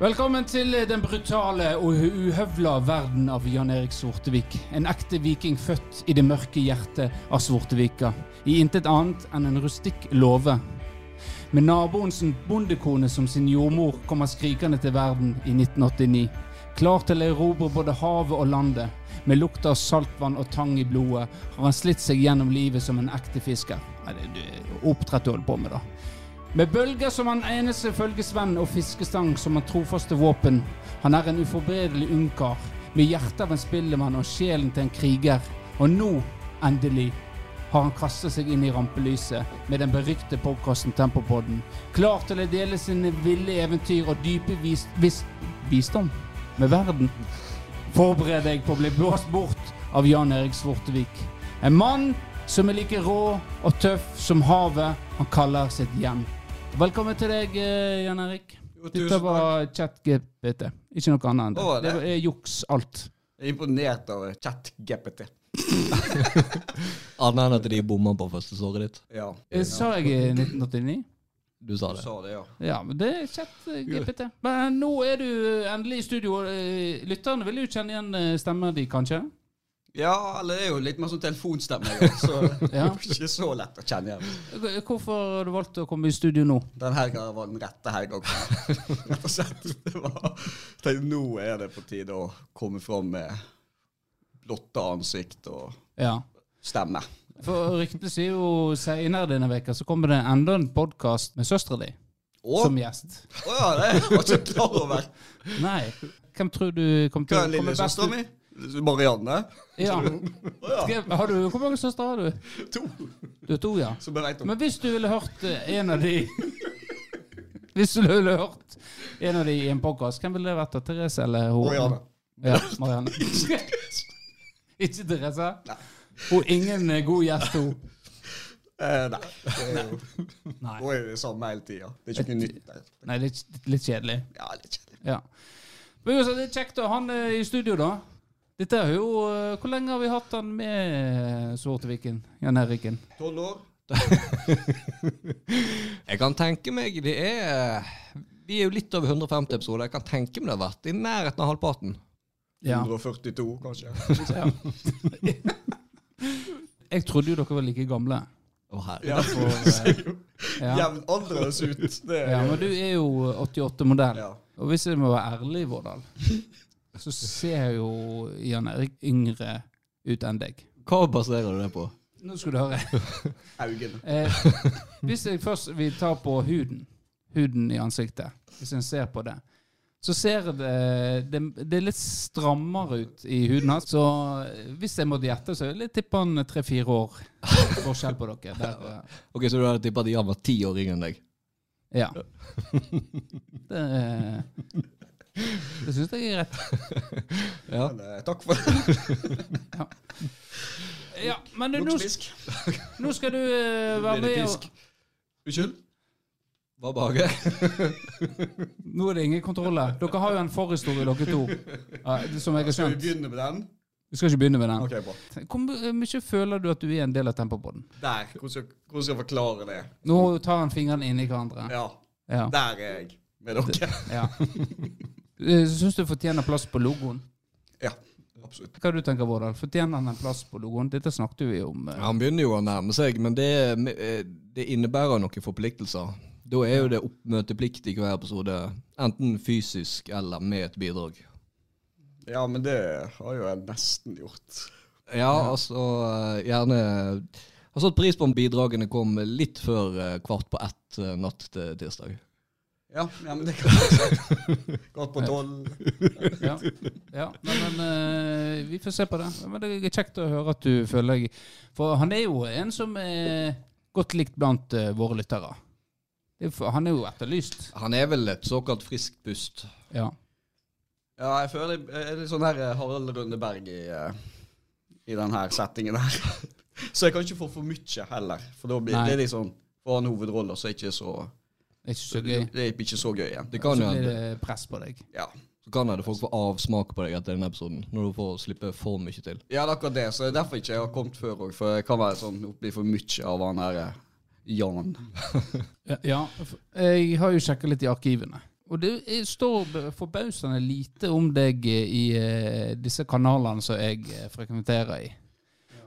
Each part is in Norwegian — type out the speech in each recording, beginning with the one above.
Velkommen til den brutale og uhøvla verden av Jan Erik Sortevik. En ekte viking født i det mørke hjertet av Sortevika. I intet annet enn en rustikk låve. Med naboens bondekone som sin jordmor kommer skrikende til verden i 1989. Klar til å erobre både havet og landet. Med lukt av saltvann og tang i blodet har han slitt seg gjennom livet som en ekte fisker. Nei, det det er oppdrett du holder på med, da. Med bølger som han eneste følgesvenn og fiskestang som han trofaste våpen. Han er en uforberedelig ungkar, med hjertet av en spillemann og sjelen til en kriger. Og nå, endelig, har han kastet seg inn i rampelyset med den berykte podkasten Tempopodden, klar til å dele sine ville eventyr og dype vis vis visdom med verden. Forbered deg på å bli blåst bort av Jan Erik Svortevik. En mann som er like rå og tøff som havet han kaller sitt hjem. Velkommen til deg, eh, Jan Erik. Jo, tusen Dette var ChatGPT. Ikke noe annet enn det. Å, Det det- er juks, alt. Jeg er imponert over ChatGPT. Annet enn at de bomma på første såret ditt. Ja, Eh, Sa jeg i 1989? Du sa du det. sa det, ja. Ja, men det er ChatGPT. Men nå er du eh, endelig i studio. Eh, Lytterne vil jo kjenne igjen eh, stemmen din, kanskje? Ja, eller det er jo litt mer sånn telefonstemme, jeg har, så det Ja. er ikke så lett å kjenne igjen. H- Eh, Hvorfor har du valgt å komme i studio nå? Den helga var den rette helga. Rett og slett. Det var, jeg tenkte, nå er det på tide å komme fram med blotta ansikt og Ja. stemme. For ryktene sier jo senere denne veka så kommer det enda en podkast med søstera di Å som gjest. å ja, det var jeg ikke klar over. Nei. Hvem tror du kom til Hva er den lille søstera mi? Marianne? Ja. Å ja, Skrev- Har du, hvor mange søstre har du? to. Du er to, ja. Som jeg veit om. Men hvis du ville hørt eh, en av de Hvis du ville hørt en av de i en podkast, hvem ville det vært? da? Therese eller hun? Marianne. Ja, Marianne. Ikke Therese? Hun er ingen eh, god gjest, hun. Eh, nei. Det er jo, Nei. nå er det samme hele tida. Det er ikke noe nytt. der. Nei, det er litt- litt kjedelig. Ja, litt kjedelig. Ja. Men uansett, det er kjekt å ha han eh, i studio, da. Dette er jo eh, Hvor lenge har vi hatt han med eh, Svarteviken? Jan Eriken? Tolv år. Jeg kan tenke meg det er Vi er jo litt over 150 episoder. Jeg kan tenke meg det har vært i nærheten av halvparten. Ja. 142, kanskje. Jeg trodde jo dere var like gamle. eh, Å, herre. Ja, Ja. Jevnaldrendes ut. Det er ja, Men du er jo eh, 88-modell. Ja. Og hvis jeg må være ærlig, Vårdal, så ser jo Jan Erik yngre ut enn deg. Hva baserer du det på? Nå skal du høre. Haugen. Eh, hvis jeg først vil ta på huden, huden i ansiktet, hvis en ser på det, så ser det, det, det er litt strammere ut i huden hans. Så eh, hvis jeg måtte gjette, så vil jeg tippe han tre-fire år forskjell på dere. Der, eh, Ok, Så du hadde tippa at Jan var ti år yngre enn deg? ja. Det, eh, det syns jeg er rett. Ja. Men, eh, takk for det. Ja, men Nok nå, spisk. nå skal du eh, Nå være blir det med og pisk. Unnskyld? Hva behage? Nå er det ingen kontroller. Dere har jo en forhistorie, dere to. Ja, som jeg har Skal vi skjønt. begynne med den? Vi skal ikke begynne med den. Ok, bra. Hvor my- eh, mye føler du at du er en del av Tempobåten? Der. Hvordan skal, hvordan skal jeg forklare det? Nå tar han fingrene inni hverandre. Ja, Ja. der er jeg med dere. ja. Eh, Syns du fortjener plass på logoen? Ja, absolutt. Hva du tenker Vårdal? Fortjener han en plass på logoen? Dette snakket vi om. eh. Han begynner jo å nærme seg, men det, eh, det innebærer noen forpliktelser. Da er jo det oppmøteplikt i hver episode, enten fysisk eller med et bidrag. Ja, men det har jo jeg nesten gjort. Ja, altså eh, gjerne Har satt pris på om bidragene kom litt før eh, kvart på ett eh, natt til tirsdag. Ja, ja men det kan jeg si. Gått på tolv. Ja. ja. Nei, men eh, vi får se på det. Men det er kjekt å høre at du føler deg For han er jo en som er godt likt blant eh, våre lyttere. Det er for- Han er jo etterlyst. Han er vel et såkalt friskt pust. Ja. Ja, jeg føler jeg er litt sånn her eh, Harald Rønne Berg i, eh, i den her settingen her. Så jeg kan ikke få for mye heller, for da blir Nei. det litt sånn Får han hovedroller, så er ikke så Det er ikke så Det gøy. er ikke så gøy igjen. Det Så kan jo blir hende det press på deg. Ja. så kan hende folk får avsmak på deg etter denne episoden, når du får slippe for mye til. ja, det er akkurat det. Så det er derfor ikke jeg har kommet før òg, for jeg kan være sånn det blir for mye av han her eh, Jan. Ja, for- jeg har jo sjekka litt i arkivene. Og det er- står b- forbausende lite om deg eh, i eh, disse kanalene som jeg eh, frekventerer i.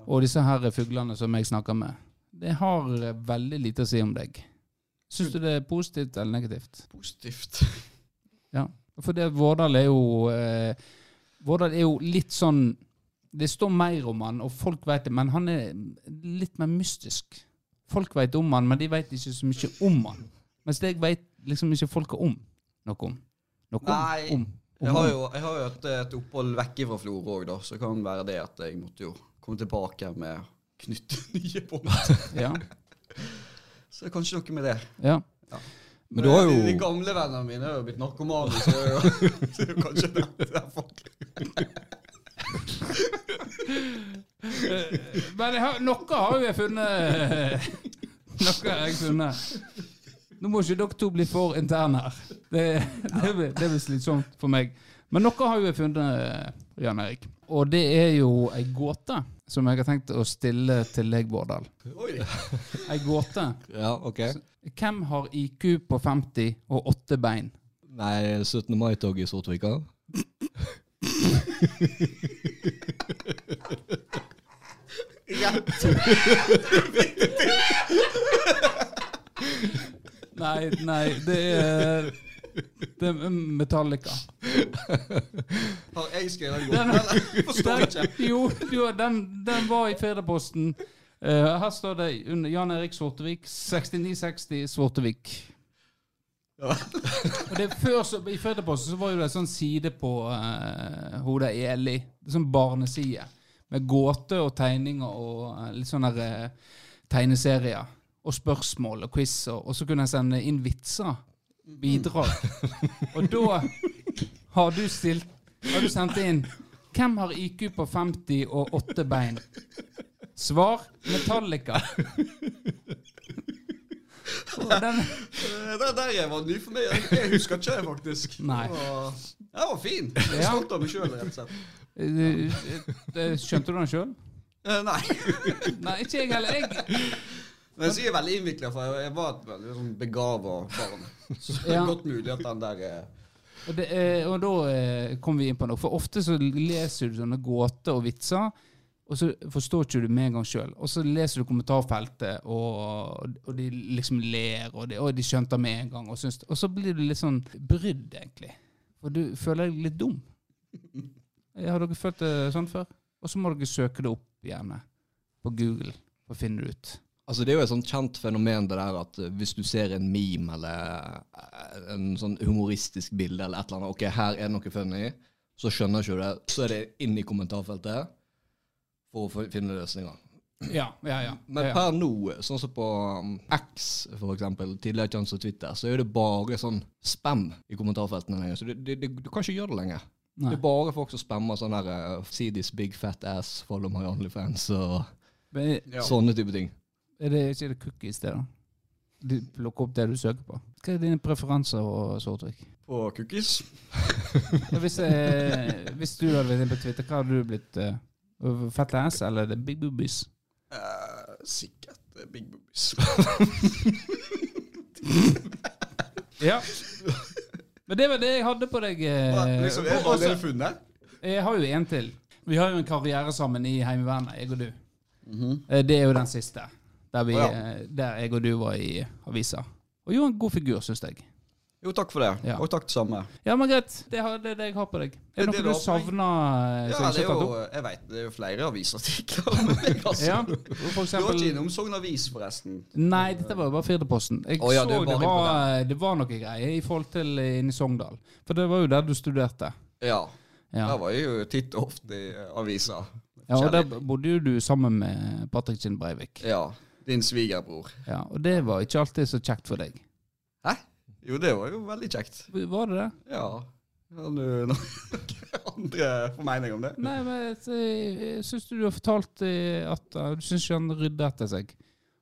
Og disse her fuglene som jeg snakker med. Det har eh, veldig lite å si om deg. Syns du det er positivt eller negativt? Positivt. For det Vårdal er jo eh, Vårdal er jo litt sånn Det står mer om han, og folk vet det, men han er litt mer mystisk. Folk vet om han, men de vet ikke så mye om han. Mens jeg vet liksom ikke folka om noe om. Noe om. Nei, om. om Jeg har han. jo, jeg har jo et, et opphold vekk fra Florø òg, da, så det kan være det at jeg måtte jo komme tilbake med å knytte nye bånd. Ja, Så det er kanskje noe med det. ja. Men du har de, de jo gamle vennene mine har jo blitt narkomane, så det er jo, så det er jo kanskje det er folk. Eh, Men jeg har, noe har jo jeg funnet. Noe har jeg funnet. Nå må ikke dere to bli for interne her. Det, det, blir, det blir slitsomt for meg. Men noe har jo jeg funnet, Jan Erik. Og det er jo ei gåte som jeg har tenkt å stille til deg, Bårdal. Oi, Ei gåte. Ja, OK. Hvem har IQ på 50 og åtte bein? Nei, 17. mai-toget i Sortvika. Nei, nei, det er, det er Metallica. har jeg skrevet Den- godt? Eller? Forstår Den, ikke. jo, jo den, den var i Firdaposten. Eh, her står det under Jan Erik Svortevik, 6960 Svortevik. Ja. Og det er før så, I Firdaposten så var jo det en sånn side på eh, hodet i Eli. Det er Sånn barneside. Med gåter og tegninger og eh, litt sånne eh, tegneserier. Og spørsmål og quiz. Og, og så kunne jeg sende inn vitser. Bidrag. Og da har du stilt Har du sendt inn Hvem har IQ på 50 og 8 bein? Svar Metallica. Og Den, Det Eh, der var ny for meg. Jeg husker ikke det, faktisk. Nei. Det var, det var fin. Jeg er Ja. stolt av meg sjøl, rett og slett. eh, eh, skjønte du den sjøl? Eh, Nei. Nei, ikke jeg heller. Jeg, Men jeg er veldig innvikla, for jeg- jeg var et veldig sånn begava barn. Så det er Ja. godt mulig at den der eh, og, det, eh, og da eh, kom vi inn på noe. For ofte så leser du sånne gåter og vitser, og så forstår ikke du med en gang sjøl. Og så leser du kommentarfeltet, og, og de liksom ler, og de, og de skjønte med en gang. Og, syns, og så blir du litt sånn brydd, egentlig. For du føler deg litt dum. Eh, Har dere følt det sånn før? Og så må dere søke det opp, gjerne, på Google, og finne det ut. Altså, det er jo et sånt kjent fenomen det der at eh, hvis du ser en meme eller eh, en sånn humoristisk bilde eller et eller annet, ok, her er det noe funny, så skjønner ikke du det, så er det inn i kommentarfeltet for å få- finne løsninger. Ja, ja, ja. Men ja, ja. per nå, sånn som på um, X for eksempel, tidligere kjent som Twitter, så er det bare sånn spam i kommentarfeltene lenger, så du, du, du, du kan ikke gjøre det lenger. Nei. Det er bare folk som spammer sånn der eh, see this big fat ass, follow my OnlyFans og Men ja. sånne type ting. Er det ikke det cookies det, da? Du plukker opp det du søker på. Hva er dine preferanser og Sortvik? på cookies. Ja, Hvis, eh, hvis du hadde vært inne på Twitter, hva hadde du blitt? Eh, Fat ass eller the big boobies? Eh, sikkert eh, Big Boobies. Ja. Men det var det jeg hadde på deg. Eh, liksom, er det og- allerede funnet? Jeg har jo en til. Vi har jo en karriere sammen i Heimevernet, jeg og du. Mhm. Eh, Det er jo den siste, der, vi, Å, ja. eh, der jeg og du var i avisa. Og gjorde en god figur, syns jeg. Jo, takk for det. Ja. Og takk det samme. Ja, men greit. Det har- det er det jeg har på deg. Er Det er det det noe du du har på deg. savner? eh, Ja, som ikke det er er tatt opp? jo, jeg vet, det er jo flere avisartikler om meg, altså. Ja, for Du var ikke eksempel innom Sogn Avis, forresten. Nei, dette var jo bare Firdaposten. Jeg Å ja, så det det er bare var, det, var, noe greier i forhold til eh, inne i Sogndal. For det var jo der du studerte. Ja. Ja, Der var jeg jo titt og ofte i eh, avisa. ja Og der bodde jo du sammen med Patrick Kinn Breivik. Ja. Din svigerbror. Ja, og det var ikke alltid så kjekt for deg. Hæ? Jo, det var jo veldig kjekt. Var det det? Ja. Har du noen andre formeninger om det? Nei, men jeg syns du har fortalt eh, at eh, du syns ikke han rydda etter seg.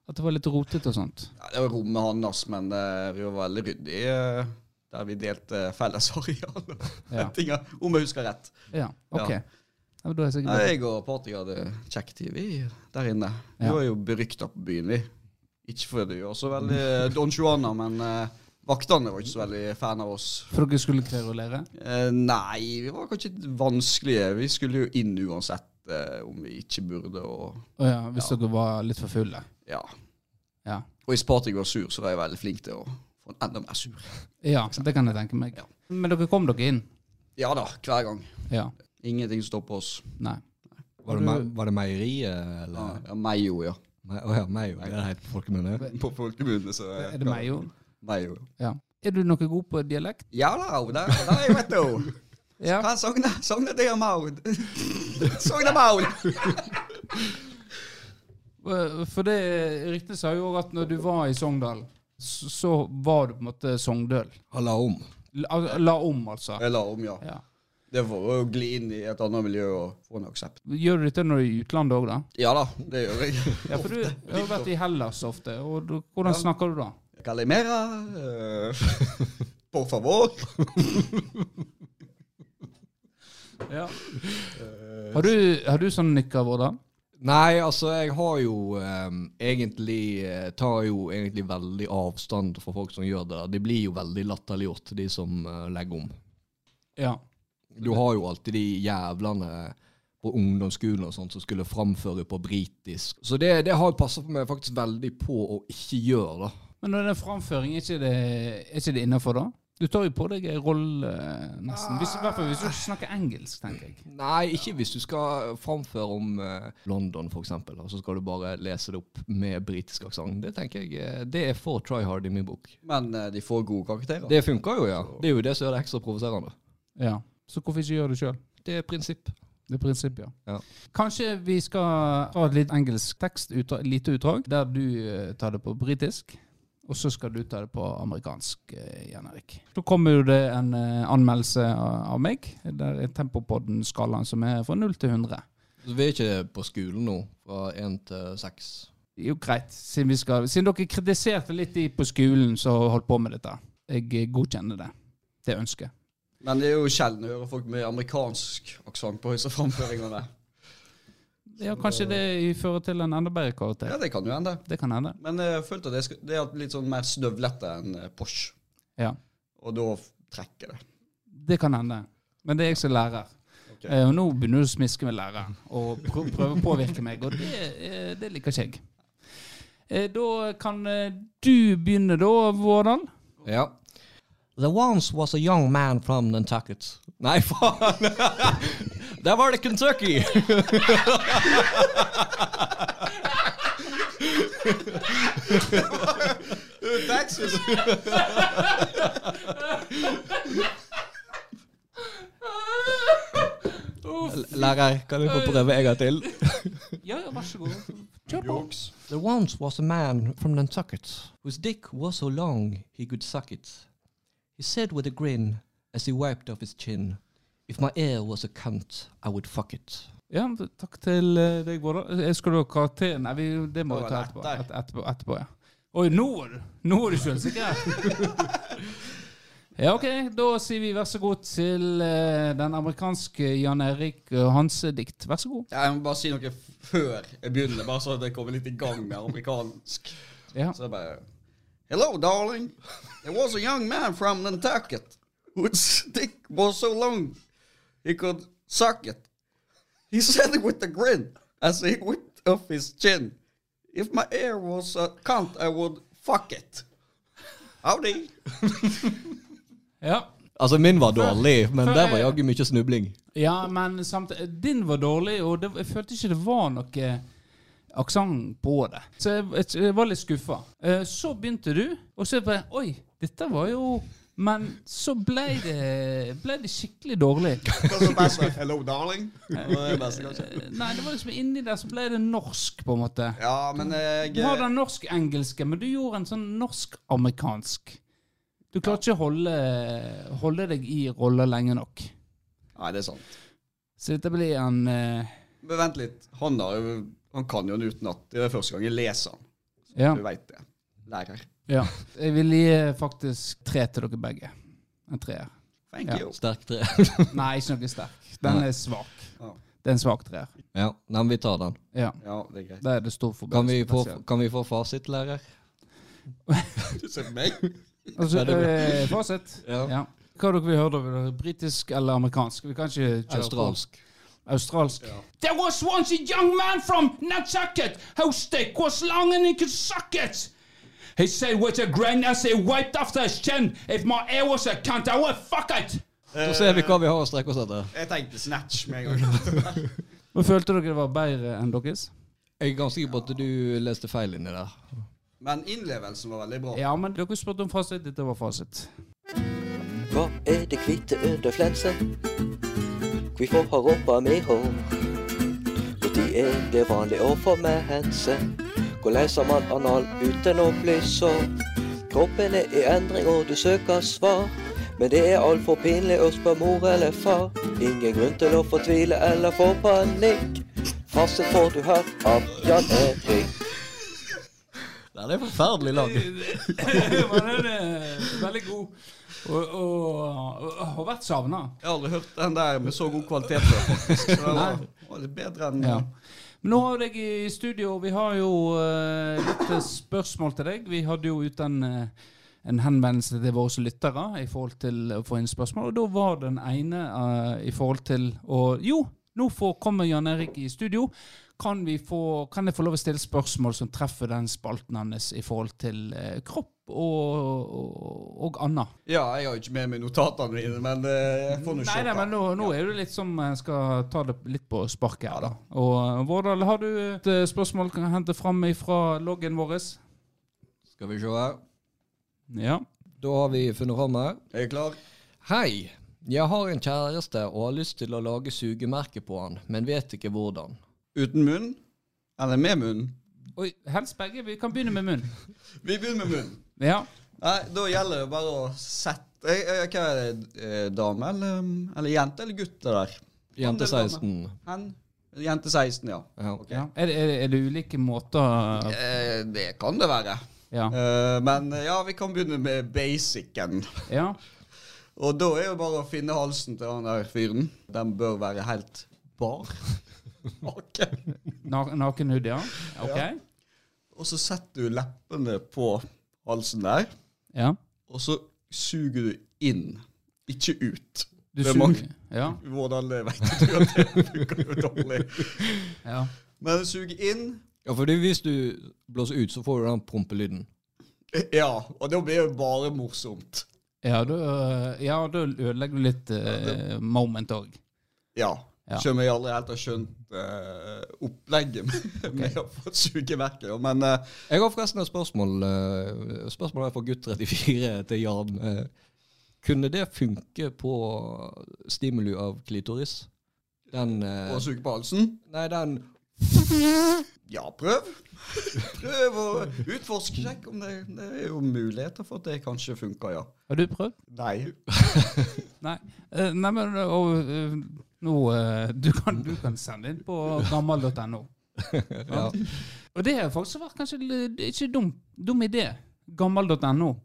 At det var litt rotete og sånt. Ja, det var rommet hans, men eh, vi var veldig ryddige eh, der vi delte eh, felles areal. Ja. Ja. Om jeg husker rett. Ja, OK. Ja. Ja. men da er jeg sikkert Nei, jeg og Patrik hadde kjekk tid, vi, der inne. Vi Ja. var jo berykta på byen, vi. Ikke fordi vi var så veldig Don Juana, men eh, Vaktene var ikke så veldig fan av oss. For dere skulle kverulere? Eh, nei, vi var kanskje litt vanskelige. Vi skulle jo inn uansett eh, om vi ikke burde og Å ja, hvis dere var litt for fulle? ja. Ja. Og i Spartak var sur, så var jeg veldig flink til å få han enda mer sur. ja, det kan jeg tenke meg. Ja. Men dere kom dere inn? Ja da, hver gang. Ja. Ingenting stopper oss. Nei. Var det, me- var det meieriet, eller? Ja, Meio, ja. Å ja, meio. Det er helt folkemunne. På folkemunne, så eh, Er det meg jo? Meio. Ja. Er du noe god på dialekt? Ja da, det det er jeg, vet du. Ja. Hva sogna? Sogna det er maud. Sogna maud. Eh, For det ryktet sa jo at når du var i Sogndal, s- så var du på en måte Sogndøl. Halla om. La, la om, altså. Jeg la om, ja. Ja. Det var å gli inn i et annet miljø og få en aksept. Gjør du dette når du er i utlandet òg, da? Ja da, det gjør jeg. Ja, for du har jo vært i Hellas ofte, og du, hvordan snakker du da? Calimera. eh, por favor. Har du, har du sånn nikker vår, da? Nei, altså, jeg har jo ehm, egentlig eh, Tar jo egentlig veldig avstand fra folk som gjør det. der. De blir jo veldig latterliggjort, de som eh, legger om. Ja. Du har jo alltid de jævlene på ungdomsskolen og sånt som skulle framføre på britisk. Så det, det har passa meg faktisk veldig på å ikke gjøre, da. Men når det er framføring, er ikke det, er ikke det innafor, da? Du tar jo på deg en rolle, eh, nesten. Hvis, I hvert fall hvis du snakker engelsk, tenker jeg. Nei, ikke hvis du skal framføre om eh, London, for eksempel, og så skal du bare lese det opp med britisk aksent. Det tenker jeg eh, det er for try hard i min bok. Men eh, de får gode karakterer. Det funker jo, ja. Det er jo det som gjør det ekstra provoserende. Ja. Så hvorfor ikke gjøre det sjøl? Det er prinsipp. Det er prinsippet, ja. Ja. Kanskje vi skal ha et litt engelsk tekst, utdrag, lite utdrag, der du eh, tar det på britisk, og så skal du ta det på amerikansk, eh, Jan Erik. Så kommer jo det en eh, anmeldelse av av meg, der er Tempopodden-skalaen som er fra 0 til 100. Så vi er ikke på skolen nå, fra én til seks. Det er Jo, greit. Siden, vi skal, siden dere kritiserte litt de på skolen som holdt på med dette. Jeg eh, godkjenner det. Det ønsket. Men det er jo sjelden å høre folk med amerikansk aksent på disse framføringene. Ja, kanskje det fører til en enda bedre karakter. Ja, det kan jo hende. Det kan hende. Men eh, jeg følte at det, skal, det er litt sånn mer snøvlete enn eh, Porsche. Ja. Og da f- trekker det. Det kan hende. Men det er jeg som er lærer. Ok. Eh, og nå begynner du å smiske med læreren og prø prøve å påvirke meg, og det, eh, det liker ikke jeg. Eh, da kan eh, du begynne, da, Vårdal. Ja. There once was a young man from Nantucket. Nei, faen! Der var det Kentucky! Texas! Lærer, kan vi få prøve en gang til? Ja, ja, vær så god. Kjør på. Jokes. There once was a man from Nantucket whose dick was so long he could suck it. He said with a grin as he wiped off his chin, If my ear was a cunt, I would fuck it. Ja, men takk til eh, deg, Vårdal. Eh, Skal du ha karakter? Nei, vi, det må vi Det var ta etterpå. lett der. Et, etterpå, etterpå ja. Oi, nå er du, nå er du selvsikker. ja, OK. Da sier vi vær så god til eh, den amerikanske Jan Erik og hans eh, dikt. Vær så god. Ja, Jeg må bare si noe f- før jeg begynner, bare så at jeg kommer litt i gang med amerikansk. Ja. Så jeg bare Hello, darling. There was a young man from Nantucket whose dick was so long he could suck it. He said it with a grin as he whipped off his chin. If my hair was a cunt, I would fuck it. Howdy. Ja. Altså, min var dårlig, men før- der var jaggu mye snubling. Ja, men samtidig Din var dårlig, og det, jeg følte ikke det var noe aksent på det. Så jeg, jeg, jeg var litt skuffa. Eh, så begynte du, og så bare Oi, dette var jo Men så ble det, ble det skikkelig dårlig. Hello, darling. Eh, Nei, det var liksom inni der så ble det norsk, på en måte. Ja, men jeg Du har den norsk-engelske, men du gjorde en sånn norsk-amerikansk. Du klarte ikke å holde, holde deg i rolla lenge nok. Nei, det er sant. Så dette blir en eh, Men vent litt. Han, da, han kan jo den utenat. Det er første gang jeg leser han. Ja. Du veit det. Lærer. Ja. Jeg vil gi eh, faktisk tre til dere begge. En treer. Thank Ja. you. Sterk tre. Nei, ikke noe sterk. Den er svak. Ja. Det er en svak treer. ja, nei, men vi tar den. Ja. ja, det er greit. Da er det stor forbedring. Kan vi få, kan vi få fasit, lærer? Du ser på meg. Altså, Nei, det blir- eh, Fortsett. Ja. Ja. Hva dere vil høre, da? Vil dere høre Britisk eller amerikansk? Vi kan ikke kjøre Australsk. på. Australsk. There was once a young man from Nantucket whose stick was long and he could suck it. He said with a grin as he wiped after his chin, if my air was a cunt, I would fuck it. Så ser vi hva vi har å strekke oss etter. Jeg tenkte Snatch med en gang. Men Følte dere det var bedre enn deres? Jeg er ganske sikker på at du leste feil inni der. Men innlevelsen var veldig bra. Ja, men dere spurte om fasit. Dette var fasit. Hva er det hvite under flenset? Hvorfor har rumpa mi hår? Når er det vanlig å få mense? Hvordan har man anal uten å bli sår? Kroppen er i endring og du søker svar. Men det er altfor pinlig å spørre mor eller far. Ingen grunn til å fortvile eller få panikk. Fasit får du her av Jan Erik. Den er forferdelig lang. Men den er veldig god. Og, og, og har vært savna. Jeg har aldri hørt den der med så god kvalitet før, faktisk. Så det var, var litt bedre enn Ja. Men nå har jeg deg i studio, og vi har jo eh, litt spørsmål til deg. Vi hadde jo ut en, eh, en henvendelse til våre lyttere i forhold til å få inn spørsmål, og da var den ene eh, i forhold til å Jo, nå får, kommer Jan Erik i studio. Kan, vi få, kan jeg få lov å stille spørsmål som treffer den spalten hans i forhold til eh, kropp og, og, og annet? Ja, jeg har jo ikke med meg notatene mine, men eh, jeg får nå Nei, nei, men nå, nå er det litt som en skal ta det litt på sparket. her da. Og eh, Vårdal, har du et eh, spørsmål kan jeg hente fram fra loggen vår? Skal vi se her. Ja. Da har vi funnet fram her. Er jeg klar? Hei. Jeg har en kjæreste og har lyst til å lage sugemerke på han, men vet ikke hvordan. Uten munn? Eller med munn? Oi, helst begge. Vi kan begynne med munn. Vi begynner med munn. Ja. Nei, da gjelder det bare å sette eh, eh, Hva er det? eh, Dame eller, um, eller jente eller gutt det der? Jente Handel, dame. 16. Hen? Jente 16, ja. Ja. ja. Er, det- er, det- er det ulike måter Eh, det kan det være. Ja. Eh, men eh, ja, vi kan begynne med basicen. ja. Og da er det bare å finne halsen til han der fyren. Den bør være helt bar. Ok. Na Nakenhud, ja. Ok. Og så setter du leppene på halsen der, Ja. og så suger du inn, ikke ut. Du Det er suger. mange- Ja. Hvordan vet du at det funker jo dårlig? ja. Men sug inn. ja, fordi hvis du blåser ut, så får du den prompelyden. Ja, og da blir det bare morsomt. Ja, da eh, ja, da ødelegger du litt eh, moment òg. Ja. Ja. Skjønner jeg aldri helt har skjønt eh, opplegget med, med å få sugeverket, da, men eh, Jeg har forresten et spørsmål. eh, Spørsmålet er fra gutt 34 til Jan. Eh, Kunne det funke på stimuli av klitoris? Den eh, å suge på halsen Nei, den Ja, prøv. Prøv å utforske. Sjekk om det, det er jo muligheter for at det kanskje funker, ja. Har du prøvd? Nei. Nei, Eh, nei men eh, og, eh, nå, eh, du, kan, du kan sende inn på gammel.no. ja. Og det har faktisk vært kanskje litt- det er ikke dum, dum idé. Gammel.no.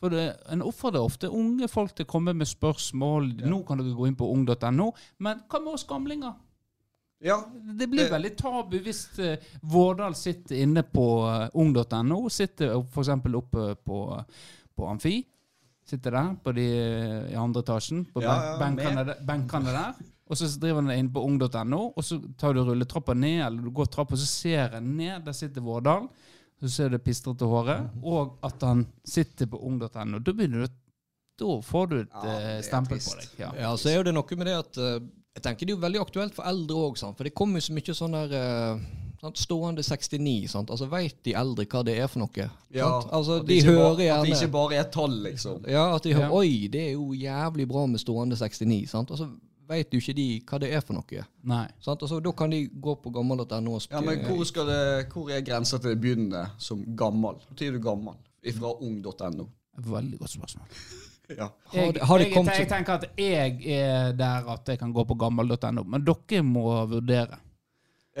For det, en oppfordrer ofte unge folk til å komme med spørsmål. Nå kan dere gå inn på ung.no. Men hva med oss gamlinger? Ja, Det blir Det- veldig tabu hvis eh, Vårdal sitter inne på eh, ung.no, sitter f.eks. oppe på, på Amfi. Sitter der på de, eh, i andre etasjen, på Ja, ja, ben- benkene, der- benkene der. Og så driver han inn på ung.no, og så tar du rulletrappa ned, eller du går trappa, og så ser en ned. Der sitter Vårdal. Så ser du det pistrete håret, Mhm. og at han sitter på ung.no. Da begynner du Da får du et Ja, det eh, er stempel på trist. deg. Ja. ja, så er jo det noe med det at eh, Jeg tenker det er jo veldig aktuelt for eldre òg, for det kommer jo så mye sånn der eh, sant, Stående 69, sant. Altså veit de eldre hva det er for noe? sant? Altså, at de ikke hører bare, At det gjerne ikke bare er tall, liksom. Ja, at de hører Ja. Oi, det er jo jævlig bra med stående 69, sant. Og så veit jo ikke de hva det er for noe. Nei. Sant? Altså, da kan de gå på gammel.no og Ja, men hvor, skal det, hvor er grensa til det begynner som gammel? Når er du gammel? Ifra ung.no. Veldig godt spørsmål. Ja. Har Jeg, det- har det jeg, kommet jeg tenker at jeg er der at jeg kan gå på gammel.no, men dere må vurdere. Jeg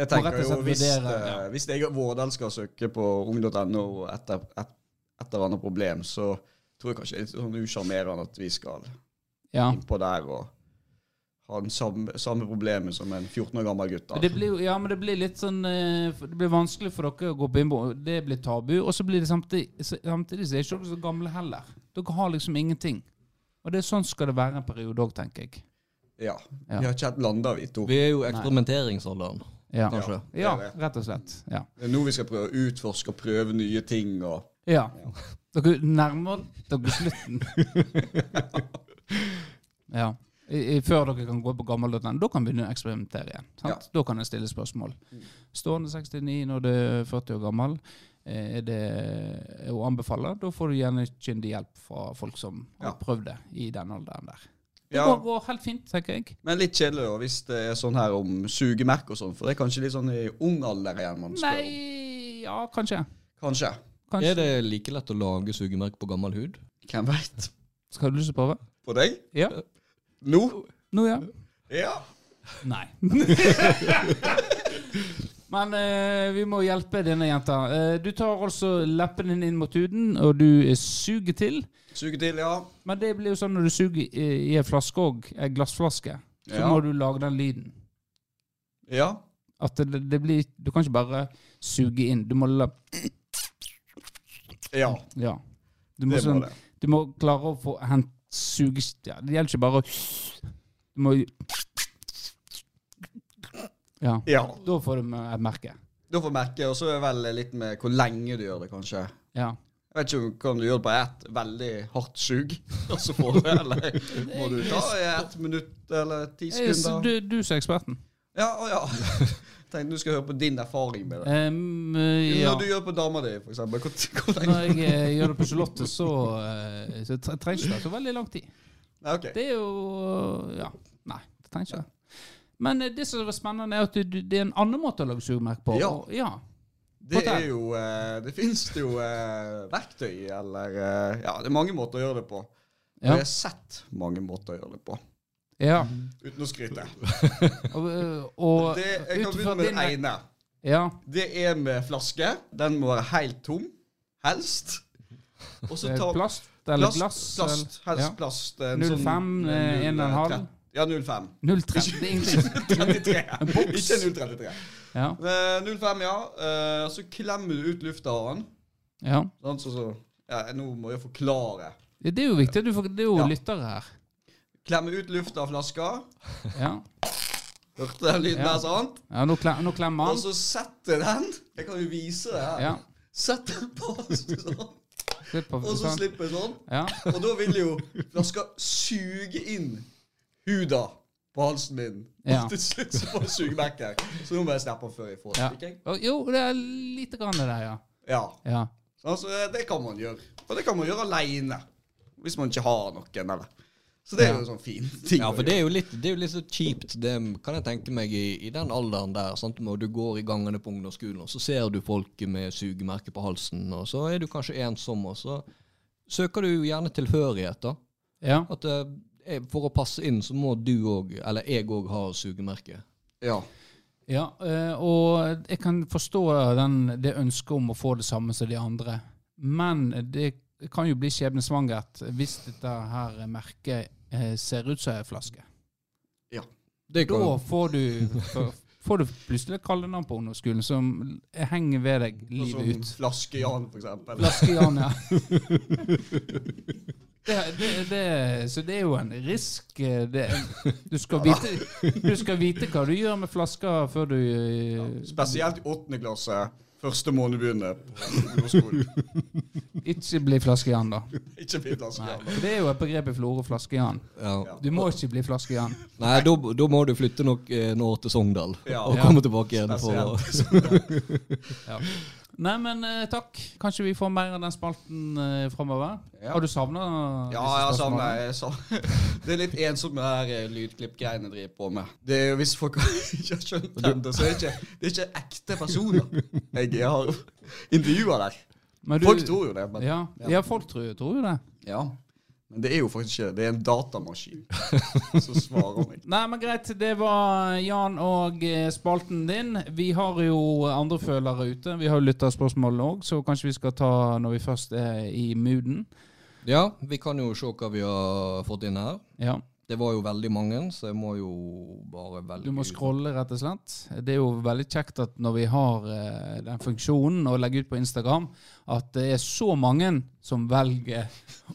Må rett tenker og jo slett hvis, vurdere, eh, ja. hvis jeg og Vårdal skal søke på ung.no etter et etter annet problem, så tror jeg kanskje det er litt sånn usjarmerende at vi skal Ja. innpå der og ha den samme, samme problemet som en 14 år gammel gutt. da. Men Det blir, jo- ja, men det blir litt sånn eh, for- Det blir vanskelig for dere å gå på innbo. Det blir tabu. Og så blir det samtidig, samtidig så er ikke dere så gamle heller. Dere har liksom ingenting. Og det er sånn skal det være en periode òg, tenker jeg. Ja. Ja. Vi har ikke hatt landa, vi to. Vi er jo i eksperimenteringsalderen, Ja. kanskje. ja, rett og slett. Ja. Det er nå vi skal prøve å utforske og prøve nye ting. og... ja. Dere nærmer dere slutten. Ja. I, i, før dere kan gå på gammeldaten. Da kan vi begynne å eksperimentere igjen. Sant? Da kan en stille spørsmål. Mm. Stående 69 når du er 40 år gammel eh, er det å anbefale. Da får du gjerne kyndig hjelp fra folk som Ja. har prøvd det i den alderen der. Det Ja. går, går helt fint, tenker jeg. Men litt kjedelig da, hvis det er sånn her om sugemerk og sånn, for det er kanskje litt sånn i ung alder igjen man spør om. Nei Ja, kanskje. Kanskje. kanskje. Er det like lett å lage sugemerk på gammel hud? Hvem veit? Skal du lyst til å prøve? Eh, På deg? Ja. Nå? Nå, ja. Ja. Nei. Men eh, vi må hjelpe denne jenta. Eh, du tar altså leppen din inn mot huden, og du eh, suger til. Suge til, ja. Men det blir jo sånn når du suger i, i en flaske òg, ei glassflaske, så Ja. må du lage den lyden. Ja. At det, det blir Du kan ikke bare suge inn. Du må la Ja. Ja. Du må, Det må sånn, det. du må klare å få hent, suge ja, Det gjelder ikke bare å Du må Ja. Ja. Da får du med et merke. Da får jeg merke, og så er det vel litt med hvor lenge du gjør det, kanskje. Ja. Jeg vet ikke om kan du gjør det på ett veldig hardt sug, og så får du det, eller må du ta i ett minutt eller ti Eh, så sekunder? Du, du som er eksperten. Ja, å ja. Tenkte du skal høre på din erfaring med det. Em, eh, ja. Når du gjør på dama di, for eksempel, hvor, hvor lenge Når jeg eh, gjør det på Charlotte, så, eh, så tre- trenger ikke det så veldig lang tid. Nei, ok. Det er jo Ja. Nei, det trenger ikke det. Men eh, det som er spennende, er at du, du, det er en annen måte å lage sugemerk på. Ja. Og, ja. Det Fortell. er jo eh, Det finnes jo eh, verktøy, eller eh, Ja, det er mange måter å gjøre det på. Og Ja. jeg har sett mange måter å gjøre det på, ja. uten å skryte. Og, eh, og Det, jeg kan ut begynne ifra med din det ene. Ja. Det er med flaske. Den må være helt tom, helst. Og så Eh, ta Plast eller glass? plast, plast, eller- helst ja. plast. en 05, eh, eh, 1,5. 0,3. Ja, 05. 0,30. Det er ingenting. 33. Ikke 0,33. Ja. Eh, 05, ja. Eh, Så klemmer du ut lufta av den. ja. Sånn, så, så. Ja, nå må jeg forklare. Det er jo viktig. at Du får, det er jo Ja. lyttere her. Klemme ut lufta av flaska. Ja, Hørte den lyden Ja. der, sant? ja nå, klem, nå klemmer Og han. så setter den Jeg kan jo vise det her. Ja. Sett den fast sånn, Slipp på og så sånn. slipper jeg sånn. Ja. Og da vil jo flaska suge inn huda på halsen min. Ja. Og til slutt så får jeg sugemerk her. Så nå må jeg snappe den før jeg får Ja. stikking. Å, Jo, det er lite grann det der, ja. Ja. ja. Altså, det kan man gjøre. Og det kan man gjøre aleine. Hvis man ikke har noen, eller. Så det er jo en sånn fin ting. Ja, å for gjøre. det er jo litt, det er jo litt så kjipt, det kan jeg tenke meg, i, i den alderen der. Sant? Når du går i gangene på ungdomsskolen, og så ser du folk med sugemerke på halsen, og så er du kanskje ensom, og så søker du jo gjerne tilhørighet, da. ja. At eh, eh, for å passe inn, så må du òg, eller jeg òg, ha sugemerke. ja. Ja, eh, og jeg kan forstå den, det ønsket om å få det samme som de andre, men det kan jo bli skjebnesvangert hvis dette her merket eh, ser ut som en flaske. Det kan, Da får du, får du plutselig et kallenavn på ungdomsskolen som henger ved deg Sånn som livet ut. Flaske Jan, for eksempel. Flaskejan, ja. Det, det, det, så det er jo en risk. eh, Det, du, skal vite, du skal vite hva du gjør med flasker før du eh, Spesielt i åttende klasse. Første måned begynner på ungdomsskolen. ikke blir flaskejan, da. Ikke bli flaske Jan. For det er jo et begrep i Florø, flaskejan. ja. Ja. Du må ikke bli flaskejan. Nei, da da må du flytte nok eh, nå til Sogndal, Ja. og Ja. komme tilbake igjen. For, Spesielt. Nei, men eh, takk. Kanskje vi får mer av den spalten eh, framover? Ja. Har du savna Ja, jeg savner jeg savner- Det er litt ensomt med det her eh, lydklippgreiene jeg driver på med. Det er jo Hvis folk ikke har skjønt det ennå, så er det ikke, det er ikke ekte personer jeg har intervjua der. Men du, Folk tror jo det, men ja, ja, folk tror, tror jo det. ja. Men det er jo faktisk ikke det. Det er en datamaskin som svarer meg. Nei, men greit. Det var Jan og eh, spalten din. Vi har jo andre følere ute. Vi har jo lytterspørsmål òg, så kanskje vi skal ta når vi først er i mooden. ja, vi kan jo se hva vi har fått inn her. Ja. Det var jo veldig mange, så jeg må jo bare velge Du må ut. scrolle, rett og slett. Det er jo veldig kjekt at når vi har eh, den funksjonen å legge ut på Instagram, at det er så mange som velger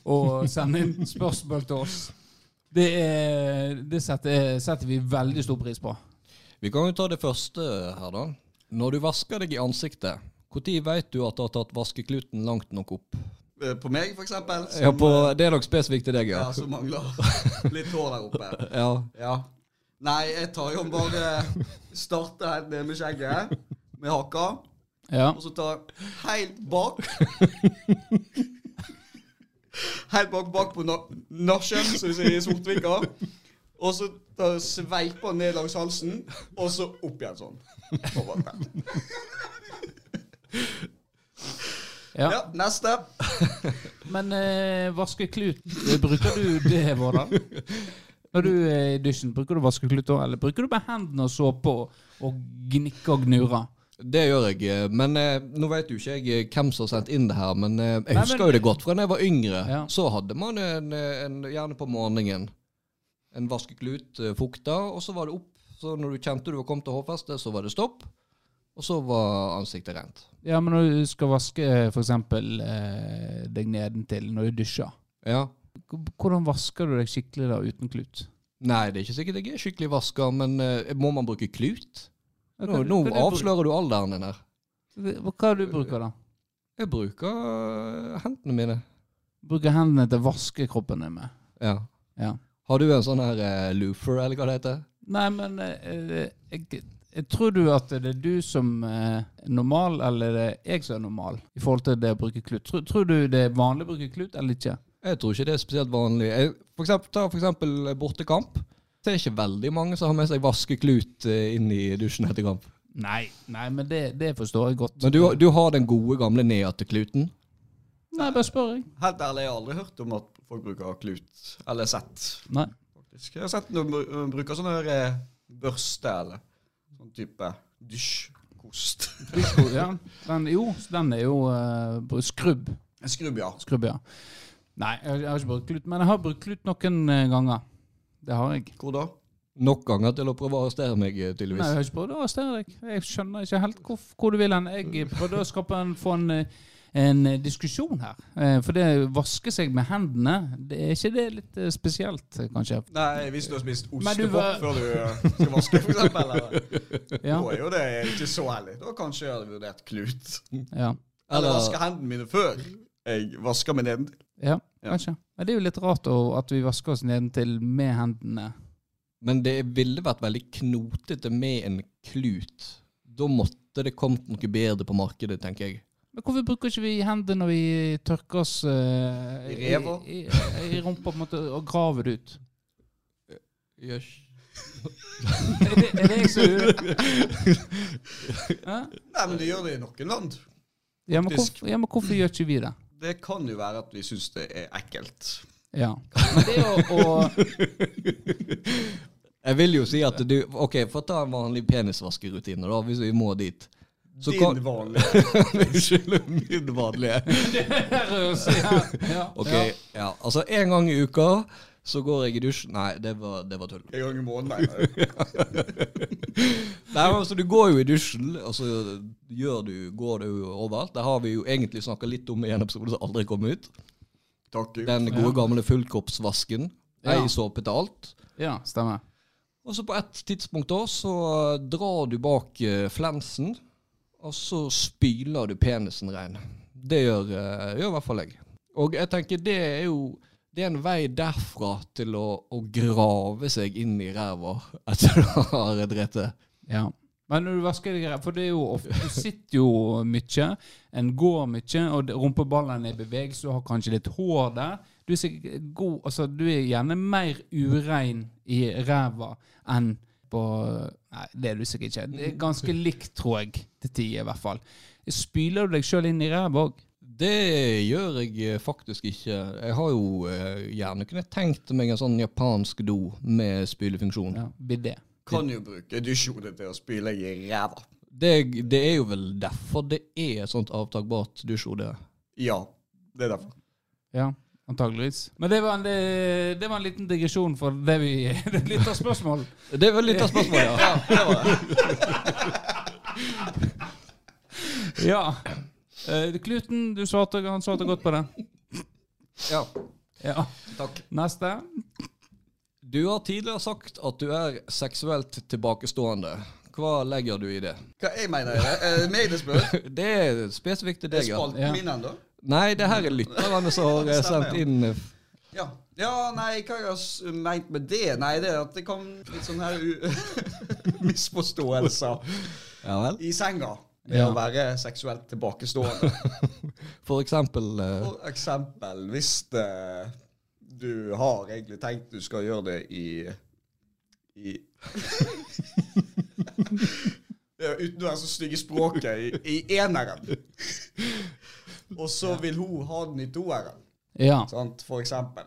å sende inn spørsmål til oss. Det, er, det setter, setter vi veldig stor pris på. Vi kan jo ta det første her, da. Når du vasker deg i ansiktet, når vet du at du har tatt vaskekluten langt nok opp? Eh, På meg, for eksempel. Som, eh, Ja, på, Det er nok spesifikt til deg, ja, ja. som mangler litt hår der oppe. ja. Ja. Nei, jeg tar jo bare Starter helt ned med skjegget, med haka, Ja. og så tar jeg helt bak. Helt bak bak på na- nasjen, som vi sier i Sortvika. Og så tar jeg sveiper ned langs halsen, og så opp igjen sånn. Og bare- ja. Ja, neste. Men eh, vaskeklut, eh, bruker du det, Vårdal? Når du er i dusjen, bruker du vaskeklut da, eller bruker du bare hendene og såpe og, og gnikke og gnure? Det gjør jeg. eh, Men eh, nå vet jo ikke jeg eh, hvem som har sendt inn det her, men eh, jeg men- husker jo det godt fra da jeg var yngre. Ja. Så hadde man en, eh, en, gjerne på morgenen en vaskeklut eh, fukta, og så var det opp. Så når du kjente du var kommet til hårfestet, så var det stopp. Og så var ansiktet rent. Ja, men når du skal vaske f.eks. Eh, deg nedentil når du dusjer, Ja. H- hvordan vasker du deg skikkelig da uten klut? Nei, det er ikke sikkert jeg er skikkelig vaska, men eh, må man bruke klut? Nå, Hva- nå hva du bru- avslører du alderen din her. Hva hva du bruker da? Jeg bruker eh, hendene mine. Bruker hendene til å vaske kroppen din med? Ja. Ja. Har du en sånn her eh, loofer, eller hva det heter? Nei, men eh, jeg, jeg tror du at det er du som eh, er normal, eller det er jeg som er normal, i forhold til det å bruke klut. Tror, tror du det er vanlig å bruke klut, eller ikke? Jeg tror ikke det er spesielt vanlig. Jeg, for eksempel, ta for eksempel bortekamp. Det er ikke veldig mange som har med seg vaskeklut eh, inn i dusjen etter kamp. Nei, nei, men det, det forstår jeg godt. Men du, du har den gode gamle nedadtekluten. Nei, bare spør, jeg. Helt ærlig, jeg har aldri hørt om at folk bruker klut. Eller sett, Nei. faktisk. Jeg har sett noen br- øh, bruker sånn her eh, børste eller sånn type dusjkost. Disko, ja. Den, jo, den er jo eh, br- skrubb. En skrubb, ja. Skrubb, ja. Nei, jeg, jeg har ikke brukt klut, men jeg har brukt klut noen eh, ganger. Det har jeg. Hvor da? Nok ganger til å prøve å arrestere meg, eh, Nei, tydeligvis. jeg har ikke prøvd å arrestere deg. Jeg skjønner ikke helt hvor, hvor du vil hen. Jeg prøvde å skape en, få en, eh, en eh, diskusjon her. Eh, For det å vaske seg med hendene, det er ikke det litt eh, spesielt, eh, kanskje? Nei, hvis du har spist Men du ostepop var- før du øh, skal vaske, for eksempel. Eller? Ja. Da er jo det ikke så heldig. Da kanskje jeg hadde vurdert klut. ja. Eller Eller- vaske hendene mine før jeg vasker meg nedentil. Ja, Ja. kanskje. Men det er jo litt rart å- at vi vasker oss nedentil med hendene. Men det ville vært veldig knotete med en klut. Da måtte det kommet noe bedre på markedet, tenker jeg. Men hvorfor bruker ikke vi hendene når vi tørker oss eh, I ræva? I, i, i rumpa på en måte, og graver det ut? Er det, er det jeg som er Hæ? Nei, men det gjør det i noen land. Ja, men Faktisk. hvorfor, ja, men hvorfor gjør ikke vi det? Det kan jo være at vi syns det er ekkelt. Ja. Men det å, å Jeg vil jo si at du Ok, for å ta en vanlig penisvaskerutine, da, hvis vi må dit. Så Din kan vanlige Unnskyld, min vanlige. ja, ja, Ok, ja. ja. Altså, en gang i uka så går jeg i dusjen Nei, det var, det var tull. en gang i måneden. mener jeg. Nei, men altså, Du går jo i dusjen, og så gjør du, går du overalt. Det har vi jo egentlig snakka litt om i en episode som aldri kom ut. Takk Gud. Den gode gamle fullkroppsvasken. Ja. Ei såpe til alt. ja, stemmer. Og så på et tidspunkt da, så drar du bak eh, flensen, og så spyler du penisen ren. Det gjør, eh, gjør i hvert fall jeg. Og jeg tenker det er jo det er en vei derfra til å, å grave seg inn i ræva etter du har drept det. Ja. Men når du vasker deg, for det er jo ofte, du sitter jo mye, en går mye, og det- rumpeballene er i bevegelse, du har kanskje litt hår der. Du er, sikkert god, altså, du er gjerne mer urein i ræva enn på Nei, det er du sikkert ikke. Det er ganske likt, tror jeg, til tider i hvert fall. Spyler du deg sjøl inn i ræva òg? Det gjør jeg eh, faktisk ikke. Jeg har jo eh, gjerne kunne tenkt meg en sånn japansk do med spylefunksjon. Ja, bidé. Kan jo bruke dusjhodet til å spyle i ræva. Det, det er jo vel derfor det er et sånt avtakbart dusjhode. Ja, det er derfor. Ja. Antageligvis. Men det var, en, det, det var en liten digresjon for det vi det er litt av spørsmål. Det var litt av spørsmålet, ja. Ja. Eh, Kluten, du svarte, han svarte godt på det. Ja, Ja. takk. Neste. Du har tidligere sagt at du er seksuelt tilbakestående. Hva legger du i det? Hva jeg mener jeg? Er det Eh, meg det spør? Det er spesifikt til Det er deg, ja. spalten Ja. min ennå? Nei, det her er lytterne som har eh, sendt inn eh, Ja. ja, nei, hva jeg har s- meint med det? Nei, det er at det kom litt sånn her u- misforståelser Ja vel? i senga. Med Ja. å være seksuelt tilbakestående. For eksempel eh, For eksempel hvis eh, du har egentlig tenkt du skal gjøre det i, i Ja, Uten å være så stygg i språket, i, i eneren. Og så vil hun ha den i toeren, Ja. sant? for eksempel.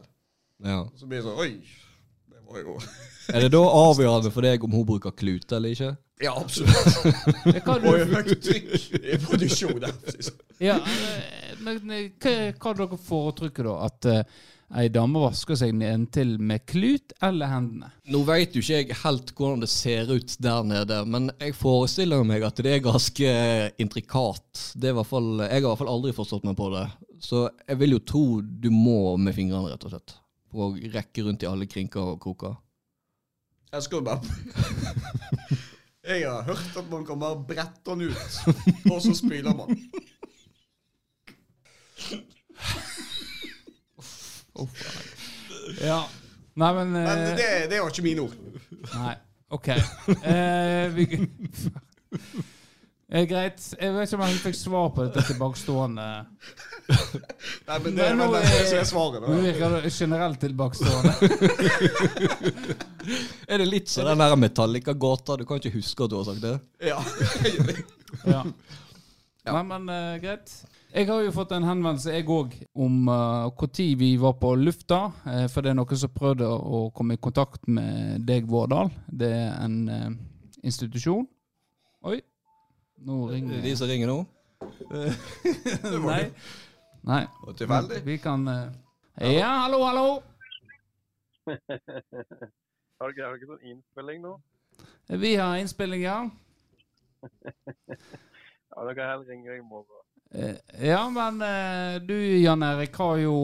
ja. Så blir det sånn Oi! Det var jo Er det da avgjørende for deg om hun bruker klut eller ikke? Ja, absolutt. Det er Eh, Hva Det du, var jo høyt trykk i produksjonen. ja eh, men eh, hva, hva dere foretrykker da? At eh, ei dame vasker seg nedentil med klut eller hendene? Nå veit jo ikke jeg helt hvordan det ser ut der nede, men jeg forestiller meg at det er ganske intrikat. Det er i hvert fall, jeg har i hvert fall aldri forstått meg på det. Så jeg vil jo tro du må med fingrene, rett og slett. For å rekke rundt i alle krinker og kroker. Jeg skulle bare Jeg har hørt at man kan bare brette den ut, og så spyler man. Ja. Nei, men, eh, Men det, det var ikke mine ord. Nei. OK. Eh, vi, eh, greit. Jeg vet ikke om jeg helt fikk svar på dette tilbakestående. Nei, men det, Men men nå det, er- som er svaret. Nå Da. virker det generelt tilbakestående. Er det litt sånn den der Metallica-gåta? Du kan ikke huske at du har sagt det? Ja. Ja. Nei, men eh, greit. Jeg har jo fått en henvendelse, jeg òg, om når vi var på lufta. eh, for det er noen som prøvde å, å komme i kontakt med deg, Vårdal. Det er en eh, institusjon. Oi. Nå ringer Mm. De som ringer nå? Nei. Nei. Og tilfeldig. Vi kan eh, Ja, hallo, hallo! Har dere har dere sånn innspilling nå? Vi har innspilling, ja. Ja, dere heller ringer i morgen. Eh, Ja, men eh, du Jan Erik har jo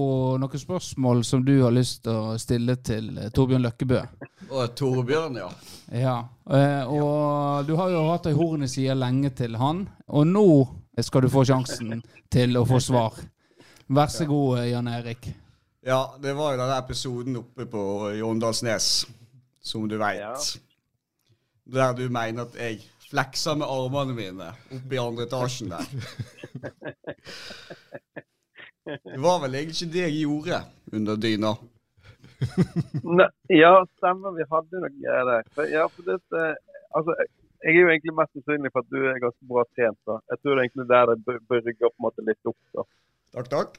noen spørsmål som du har lyst til å stille til eh, Torbjørn Løkkebø. Og Torbjørn, ja. Ja, eh, og du har jo hatt ei horn i sida lenge til han, og nå skal du få sjansen til å få svar. Vær så god, eh, Jan Erik. Ja, det var jo den der episoden oppe på i Åndalsnes, som du veit. Ja. Der du mener at jeg flekser med armene mine oppe i andre etasjen der. Det var vel egentlig ikke det jeg gjorde under dyna. Ne ja, stemmer. Vi hadde noe greier der. For, ja, for det, eh, altså, jeg- jeg er jo egentlig mest sannsynlig for at du er ganske bra trent. da. Jeg tror det er egentlig der det bør- bør rygge på en måte litt opp. da. Takk, takk.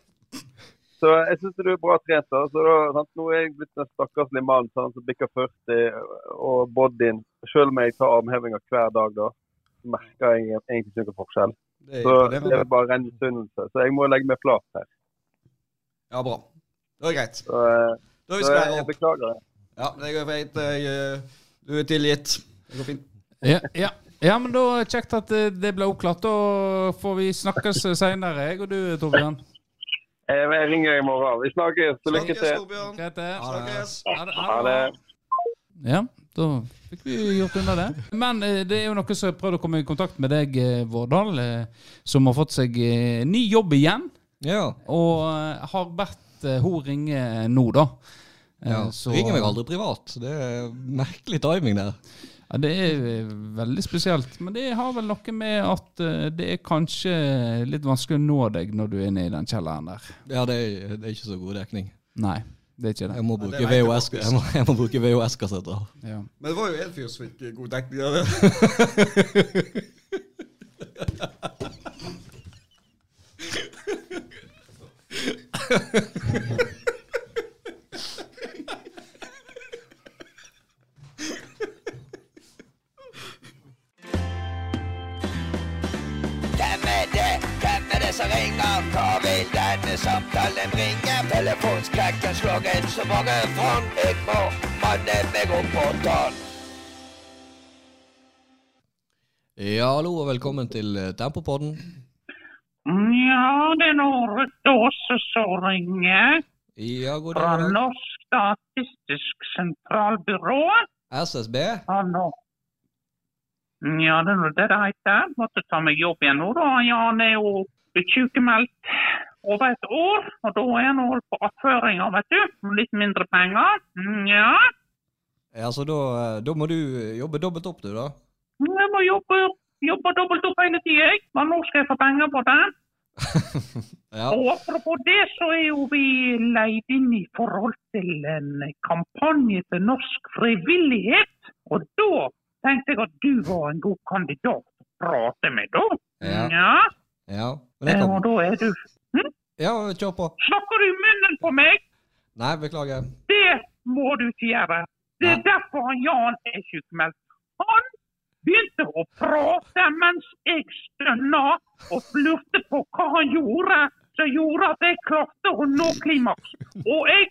Så jeg syns du er bra trent. da. Så da sant? Nå er jeg blitt en stakkarslig mann sånn, som bikker 40, og bodyen Selv om jeg tar armhevinger hver dag, da, så merker jeg egentlig ikke noen forskjell. Det er Så imponerende. det er bare ren misunnelse. Så jeg må legge meg flat her. Ja, bra. Det er greit. Så, eh, Da er vi så jeg, skværa jeg opp. beklager. det. Ja, det går fint. Jeg, eh, Du er tilgitt. Det går fint. Ja, ja. ja men da kjekt at eh, det ble oppklart. Da får vi snakkes seinere, jeg og du, Torbjørn. Eh, men Jeg ringer i morgen. Vi snakkes. Så Lykke til. Torbjørn. Greit, eh, det. Snakkes. Ha det. Ha det. Ja, da fikk vi gjort unna det. Men eh, det er jo noen som har prøvd å komme i kontakt med deg, eh, Vårdal, eh, som har fått seg eh, ny jobb igjen. Ja. Og eh, har bedt eh, hun ringe nå, da. Eh, ja. så- Ringer meg aldri privat. Det er merkelig timing der. Ja, det er eh, veldig spesielt. Men det har vel noe med at eh, det er kanskje eh, litt vanskelig å nå deg når du er inne i den kjelleren der. Ja, det er, det er ikke så god dekning. Nei, det er ikke det. Jeg må Ja, det bruke vet jeg VHS jeg må, jeg må bruke VHS-kassetter. Ja. Men det var jo en fyr som fikk god dekning av det. Hvem er det? Hvem er det som ringer? tar vi denne samtalen. Ringer telefonskrekken, slagen så mange fram. Jeg må manne meg opp og ta den. Ja, hallo og velkommen til eh, Tempopodden. Ja, det er Norut Aase som ringer Ja, god fra dag. god dag. Norsk statistisk sentralbyrå. SSB? Fra Nor- Ja, det er nå det det heter. Måtte ta meg jobb igjen nå, da. Jan er jo blitt sykemeldt over et år, og da er han holdt på attføringa, vet du. Litt mindre penger. Ja, Ja, så da, eh, da må du eh, jobbe dobbelt opp, du, da. jeg må jobbe, jobbe dobbelt opp hele tida, jeg. Men nå skal jeg få penger på det. Ja. Og apropos det, så er jo vi leid inn i forhold til en kampanje for norsk frivillighet. Og da tenkte jeg at du var en god kandidat å prate med, da. Ja. ja. Men jeg Eh, kan Og da er du Ja, kjør på. Snakker du i munnen på meg? Nei, beklager. Det må du ikke gjøre. Det er Nei. derfor han Jan er sykemeldt. Han begynte å prate mens jeg stønna og lurte på hva han gjorde som gjorde at jeg klarte å nå klimaks. Og jeg,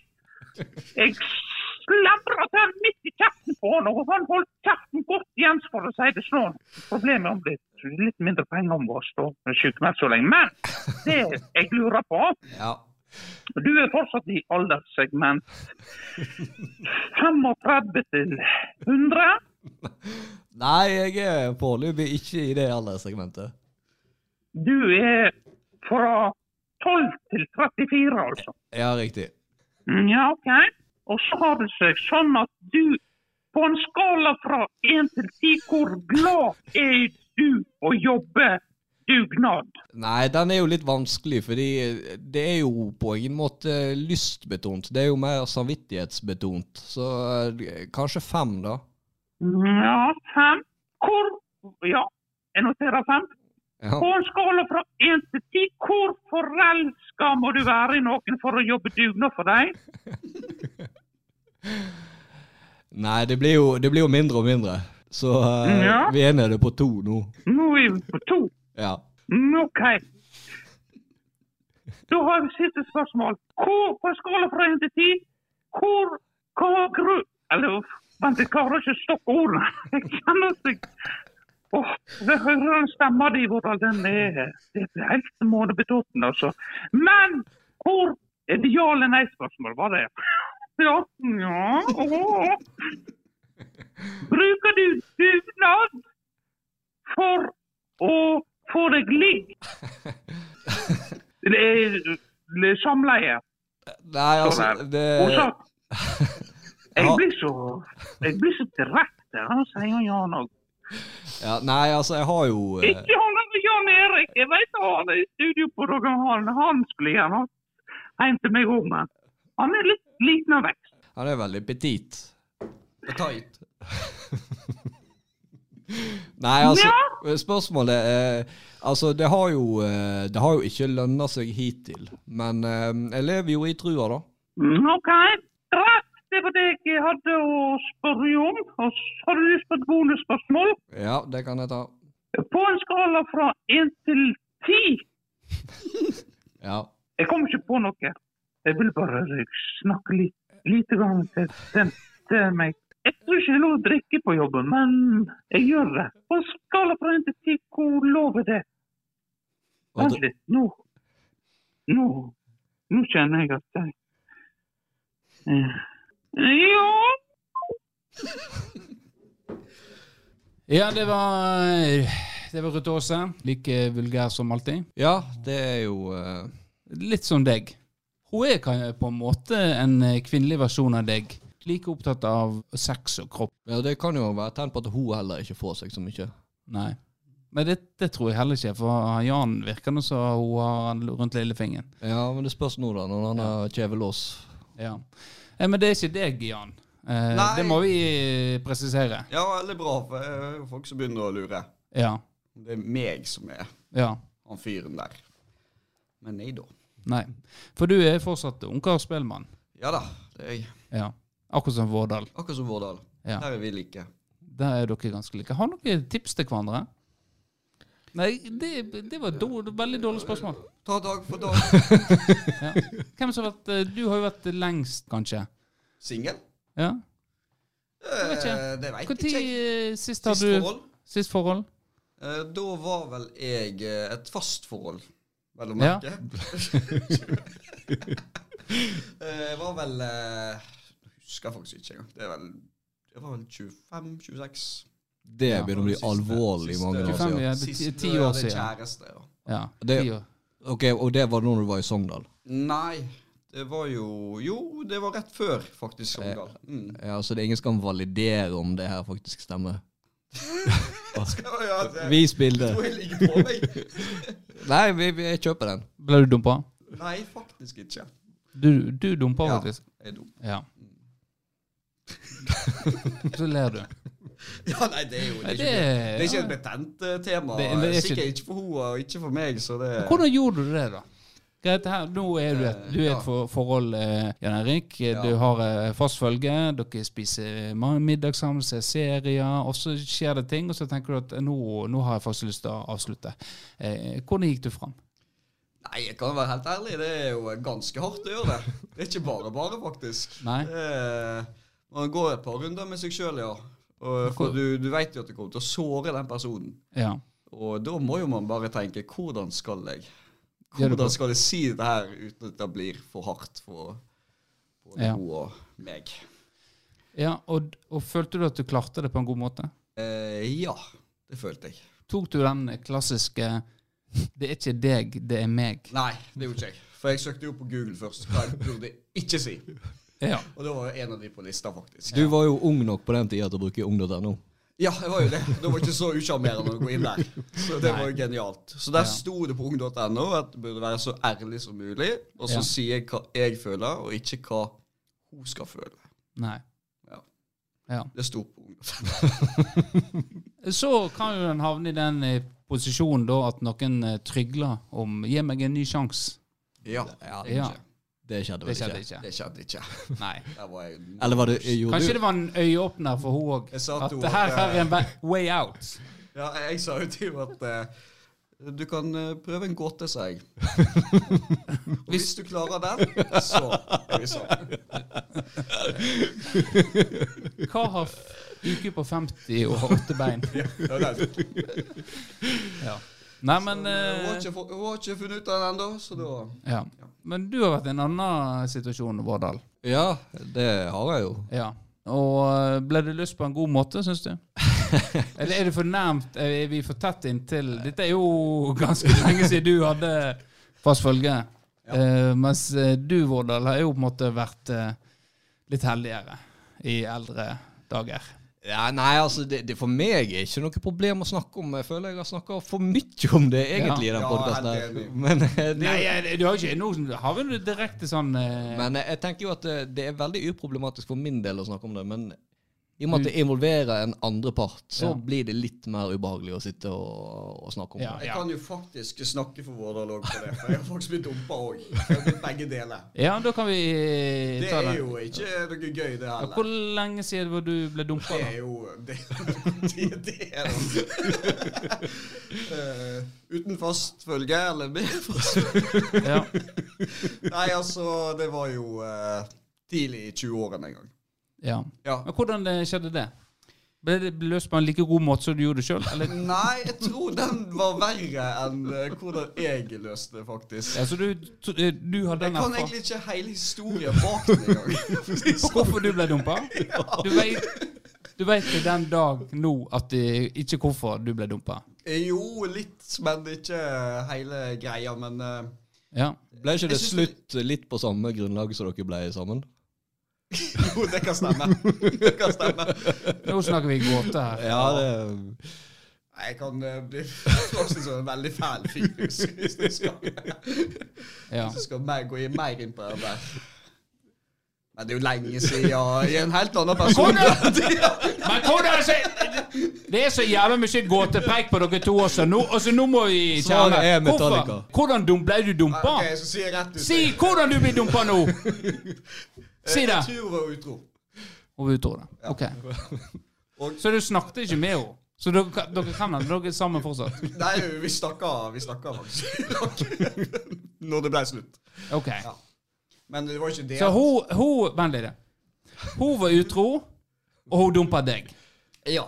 jeg slemra til midt i kjeften på han, og han holdt kjeften godt igjen, for å si det sånn. Problemet er om det er litt mindre penger om å stå sykemeldt så lenge. Men det jeg lurer på Ja. du er fortsatt i alderssegment 35 til 100. Nei, jeg er foreløpig ikke i det alderssegmentet. Du er fra 12 til 34, altså. Mm, Ja, riktig. Ja, OK. Og så har det seg sånn at du, på en skala fra 1 til 10, hvor glad er du å jobbe dugnad? Nei, den er jo litt vanskelig, fordi eh, det er jo på ingen måte lystbetont. Det er jo mer samvittighetsbetont. Så eh, kanskje fem, da. Mm, Ja, fem. Hvor Ja, jeg noterer fem. Ja. På en skala fra 1 til 10, hvor forelska må du være i noen for å jobbe dugnad for deg? Nei, det blir, jo, det blir jo mindre og mindre. Så eh, Mm, Ja. vi er nede på to nå. Nå er vi på to. Ja. Mm, OK. Da har jeg siste spørsmål. Hvor, på en skala fra 1 til 10, hvor hva gru... Eller uff, vent, jeg klarer ikke å stokke ordene. Jeg kjenner seg Åh, jeg hører den stemma di, hvordan den er Det er helt månebetåtende, altså. Men hvor Er det ja eller nei-spørsmål, var det? Ja. ja. åh. Bruker du dugnad for å få deg ligg? Det er- det er eh, Samleie. Nei, altså Sånn det, Eh, Og så Jeg Ja. blir så Jeg blir så direkte, han sier Jan òg. ja, Nei, altså, jeg har jo eh, Ikke han der Jan Erik, jeg vet han er i studio på Rogaland. Han skulle gjerne hjem til meg òg, men han er litt liten av vekst. Han er veldig petit. Og tight. Nei, altså Spørsmålet eh, Altså, det har jo eh, Det har jo ikke lønna seg hittil. Men eh, jeg lever jo i trua, da. Mm, OK, greit. Det var det jeg hadde å spørre om. Og så har du lyst på et bonusspørsmål? Ja, det kan jeg ta. På en skala fra én til ti Ja. Jeg kom ikke på noe. Jeg vil bare snakke litt, lite grann til bestemte meg. Jeg tror ikke det er lov å drikke på jobben, men jeg gjør det. På en skala fra 1 til 10, hvor lov er det? Og Vent dri- litt, nå. Nå. Nå kjenner jeg at jeg Eh, Ja, Ja, det var eh, Det var Ruth Aase. Like vulgær som alltid. ja, det er jo eh, Litt som deg. Hun er kan- på en måte en eh, kvinnelig versjon av deg. Like opptatt av sex og kropp. ja, Det kan jo være et tegn på at hun heller ikke får seg så mye. Nei. Men det, det tror jeg heller ikke, for Jan virker nå som hun har han rundt lillefingeren. Ja, men det spørs nå, da, når han har kjevelås. Ja. Eh, Men det er ikke deg, Jan. Eh, Nei. det må vi eh, presisere. Ja, veldig bra, for jeg hører jo folk som begynner å lure. Ja. Det er meg som er Ja. han fyren der. Men nei da. Nei. For du er fortsatt ungkarspelmann. Ja da, det er jeg. Ja. Akkurat som Vårdal. Akkurat som Vårdal. Ja. Der er vi like. Der er dere ganske like. Har dere tips til hverandre? Nei, det, det var et do, veldig dårlig spørsmål. Ta dag for dag. Ja. Hvem som har vært eh, Du har jo vært lengst, kanskje. Singel? Ja. Eh, vet ikke. Det veit Når ikke jeg. sist har Sist du forhold? Sist forhold? Eh, Da var vel jeg eh, et fast forhold, vel å Ja. merke. Eh, Jeg var vel eh, Husker faktisk ikke engang. Det er vel Jeg var vel 25-26. Det begynner å bli Siste- alvorlig siste- mange år 25, siden. ja. det er ti- ti år Siste jeg hadde siden. kjæreste, ja. Ja. Det- ti år. Ok, Og det var når du var i Sogndal? Nei, det var jo Jo, det var rett før, faktisk. Sogndal. Mm. Ja, Så det er ingen som kan validere om det her faktisk stemmer? Skal jeg ha det? Vis bildet. Tror jeg ligger på meg. Nei, vi, vi, jeg kjøper den. Ble du dumpa? Nei, faktisk ikke. Du, du dumpa Ja. faktisk. Jeg er dum. Ja. Så ler du. Ja, nei, det er jo det er Det, ikke, det er ikke et betent eh, tema. Det- det er Sikkert ikke for henne og ikke for meg, så det Hvordan gjorde du det, da? Greit, her, nå er du et, du er Eh, Ja. et for, forhold, eh, Jan Erik. Ja. Du har eh, fast følge. Dere spiser eh, ma- middag sammen, ser serier, og så skjer det ting. Og så tenker du at eh, nå, nå har jeg faktisk lyst til å avslutte. Eh, hvordan gikk du fram? Nei, jeg kan være helt ærlig, det er jo ganske hardt å gjøre det. Det er ikke bare bare, faktisk. Nei? Det er- Man går et par runder med seg sjøl, ja. Og, for du, du veit jo at det kommer til å såre den personen. Ja. Og da må jo man bare tenke hvordan skal jeg Gjør det på- Hvordan skal jeg si det her uten at det blir for hardt for både Ja. hun og meg? ja og, og følte du at du klarte det på en god måte? Eh, ja, det følte jeg. Tok du den klassiske 'det er ikke deg, det er meg'? Nei, det gjorde ikke jeg. For jeg søkte jo på Google først hva jeg burde ikke si. Ja. Og da var jo en av de på lista, faktisk. Du var jo ung nok på den tida til å bruke ung.no. Ja, jeg var jo det. Det var ikke så usjarmerende å gå inn der. Så det var jo genialt. Så der Ja. sto det på ung.no at du burde være så ærlig som mulig, og så Ja. sier jeg hva jeg føler, og ikke hva hun skal føle. Nei. Ja. ja. Det sto på ung.no. Så kan jo den havne i den eh, posisjonen da at noen eh, trygler om 'gi meg en ny sjanse'. Ja, det Ja. skjer. Det skjedde Det vel skjedde ikke. ikke. det skjedde ikke. Nei. Der var jeg Eller var det eh, gjorde Kanskje du? det var en øyeåpner for hun òg. Jeg sa At til det hun her at, er en ve- way out. Ja, jeg sa jo til henne at eh, du kan eh, prøve en gåte, sa jeg. Og hvis du klarer den, så er vi sammen. Hva har f- IQ på 50 og har åtte bein? Det var den. Ja. Nei, men Hun har eh, ikke, fu- hun har ikke funnet ut av den ennå, så da ja. Men du har vært i en annen situasjon, Vårdal. Ja, det har jeg jo. Ja. Og eh, ble det løst på en god måte, syns du? Eller er det for nærmt? Er vi for tett inntil? Dette er jo ganske lenge siden du hadde fast følge. Eh, mens eh, du, Vårdal, har jo på en måte vært eh, litt heldigere i eldre dager. Ja, nei, altså, det, det for meg er ikke noe problem å snakke om. Jeg føler jeg har snakka for mye om det egentlig i den Ja, podkasten helt her. enig. Men, eh, det, Nei, eh, du har ikke noe Har du direkte sånn eh, men eh, jeg tenker jo at det, det er veldig uproblematisk for min del å snakke om det. Men i Mm. og med at det involverer en andre part, så Ja. blir det litt mer ubehagelig å sitte og, og snakke om Ja. det. Jeg kan jo faktisk snakke for Vårdal òg på det, for jeg har faktisk blitt dumpa òg. Jeg har blitt Begge deler. Ja, da kan vi eh, Det ta er den. jo ikke noe gøy, det Ja, Hvor heller. lenge siden var du ble dumpa? Det er jo Det det- det er det. Eh, Uten fast følge, eller med fast da? Ja. Nei, altså, det var jo eh, tidlig i 20-årene en gang. ja. Ja. Men hvordan eh, skjedde det? Ble det løst på en like god måte som du gjorde det sjøl? Eller Nei, jeg tror den var verre enn eh, hvordan jeg løste det, faktisk. Ja, så du, eh, du har Jeg den kan erfaringen egentlig ikke hele historien bak den engang. Hvorfor du ble dumpa? Du vet, du vet til den dag nå at det, ikke hvorfor du ble dumpa. Jo, litt, men ikke eh, hele greia. Men eh, Ja. Ble ikke det Jeg synes slutt litt på samme grunnlag som dere ble sammen? jo, det kan stemme. Det kan stemme. Nå snakker vi gåte her. Ja, det... Nei, Jeg kan eh, bli faktisk som en sånn veldig fæl fyr hvis hvis du skal Ja. Så skal vi gå i- mer inn på det der. Men det er jo lenge siden i en helt annen person. Men hvordan så, Det er så jævla mye gåtepreik på dere to også, nå, og så nå må vi Svaret kjerne. er Hvorfor? Metallica. Hvordan dum ble du dumpa? Ah, Ok, jeg skal si det rett ut. Si hvordan du blir dumpa nå! Si det. Jeg tror hun var utro. Og vi tror det. Ok. Så du snakket ikke med henne? Så dere, kan- dere kan den? Dere er sammen fortsatt? Nei, vi snakka, vi snakka faktisk. Når det ble slutt. OK. Men det var ikke det. Så hun, hun Vent litt. Hun var utro, og hun dumpa deg. Ja.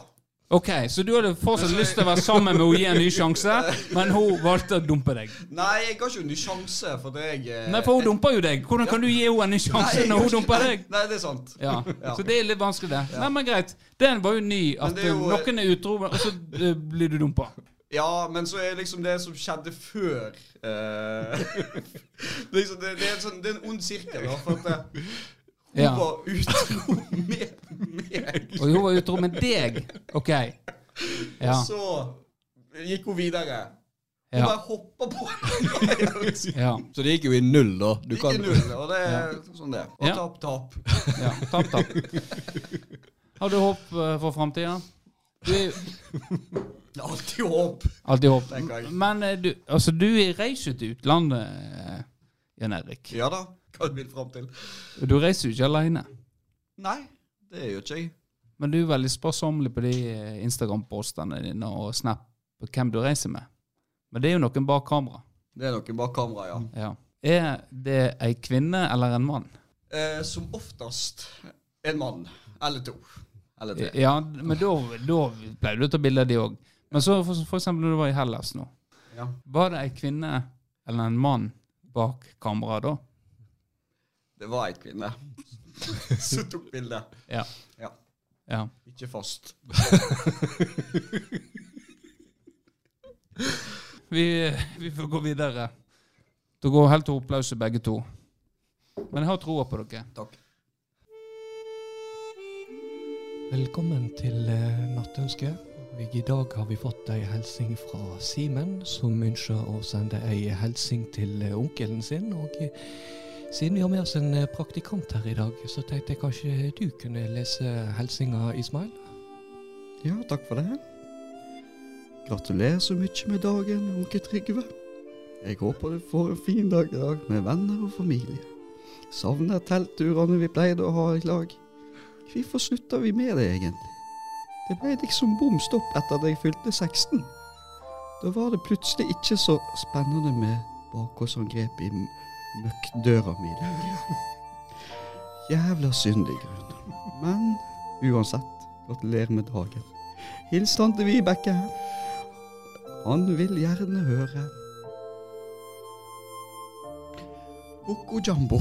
OK, så du hadde fortsatt lyst til å være sammen med henne og gi en ny sjanse, men hun valgte å dumpe deg. Nei, jeg ga ikke henne sjanse, for det jeg eh, Nei, for hun dumpa jo deg. Hvordan kan du gi henne en ny sjanse jeg når ga hun ikke- dumpa deg? Nei, det er sant. Ja. Ja. Så det er litt vanskelig, det. Nei, men greit. Den var jo ny, at det er jo- eh, noen er utro, men- og så eh, blir du dumpa. Ja, men så er liksom det som skjedde før eh, liksom det, det, er en sånn, det er en ond sirkel, da. For at eh, hun Ja. var utro med meg, Og hun var utro med deg. OK. Ja. så gikk hun videre. Hun Ja. bare hoppa på. Nei, det var liksom- ja. Så det gikk jo i null, da. Du Gikk i kan, null, og det er sånn det. Og Ja. tap, tap. Ja, tap, tap. Har du håp eh, for framtida? Du er Det er Alltid håp. alltid håp. Tenker jeg. Men eh, du, altså, du reiser jo til utlandet, eh, Jan Erik. Ja da. Hva du vil fram til? Du reiser jo ikke aleine. Nei, det gjør ikke jeg. Men du er veldig sparsommelig på de eh, Instagram-postene dine og Snap på hvem du reiser med. Men det er jo noen bak kamera. Det er noen bak kamera, ja. Ja. Er det ei kvinne eller en mann? Eh, som oftest en mann. Eller to. Eller tre. Ja, men da, da pleier du å ta bilde av de òg. Men så for, for eksempel når du var i Hellas nå. Ja. Var det ei kvinne eller en mann bak kameraet da? Det var ei kvinne som tok bildet. Ja. Ja. ja. Ikke fast. Vi, vi får gå videre. Det går helt til oppløse begge to. Men jeg har troa på dere. Takk. Velkommen til eh, Nattønsket. Og I dag har vi fått ei hilsing fra Simen, som ønsker å sende ei hilsing til eh, onkelen sin. Og eh, siden vi har med oss en eh, praktikant her i dag, så tenkte jeg kanskje du kunne lese hilsinga, Ismail? Ja, takk for det. Gratulerer så mye med dagen, onkel Trygve. Jeg håper du får en fin dag i dag med venner og familie. Savner teltturene vi pleide å ha i lag. Hvorfor slutta vi med det, egentlig? Det ble liksom bom stopp etter at jeg fylte 16. Da var det plutselig ikke så spennende med bakholdsangrep i m- møkkdøra mi lenger. Jævla synd i grunnen. Men uansett. Gratulerer med dagen. Hils tante Vibeke. Han vil gjerne høre. Coco Jumbo.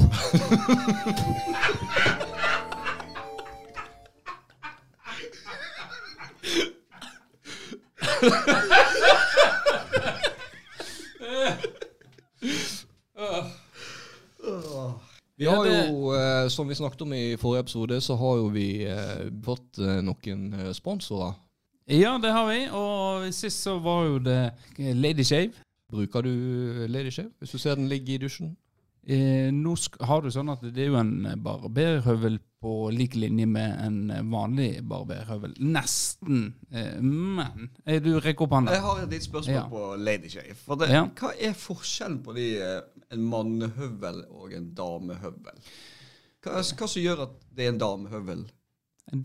Vi har jo, eh, som vi snakket om i forrige episode, så har jo vi eh, fått eh, noen eh, sponsorer. Ja, det har vi. Og sist så var jo det Lady Shave. Bruker du Lady Shave hvis du ser den ligge i dusjen? Eh, nå sk har du sånn at det er jo en barberhøvel på lik linje med en vanlig barberhøvel. Nesten. Eh, men eh, Du rekker opp Jeg hånda. har et lite spørsmål Ja. på Lady Shave. For det, Ja. Hva er forskjellen på de, eh, en mannehøvel og en damehøvel? Hva, altså, hva som gjør at det er en damehøvel?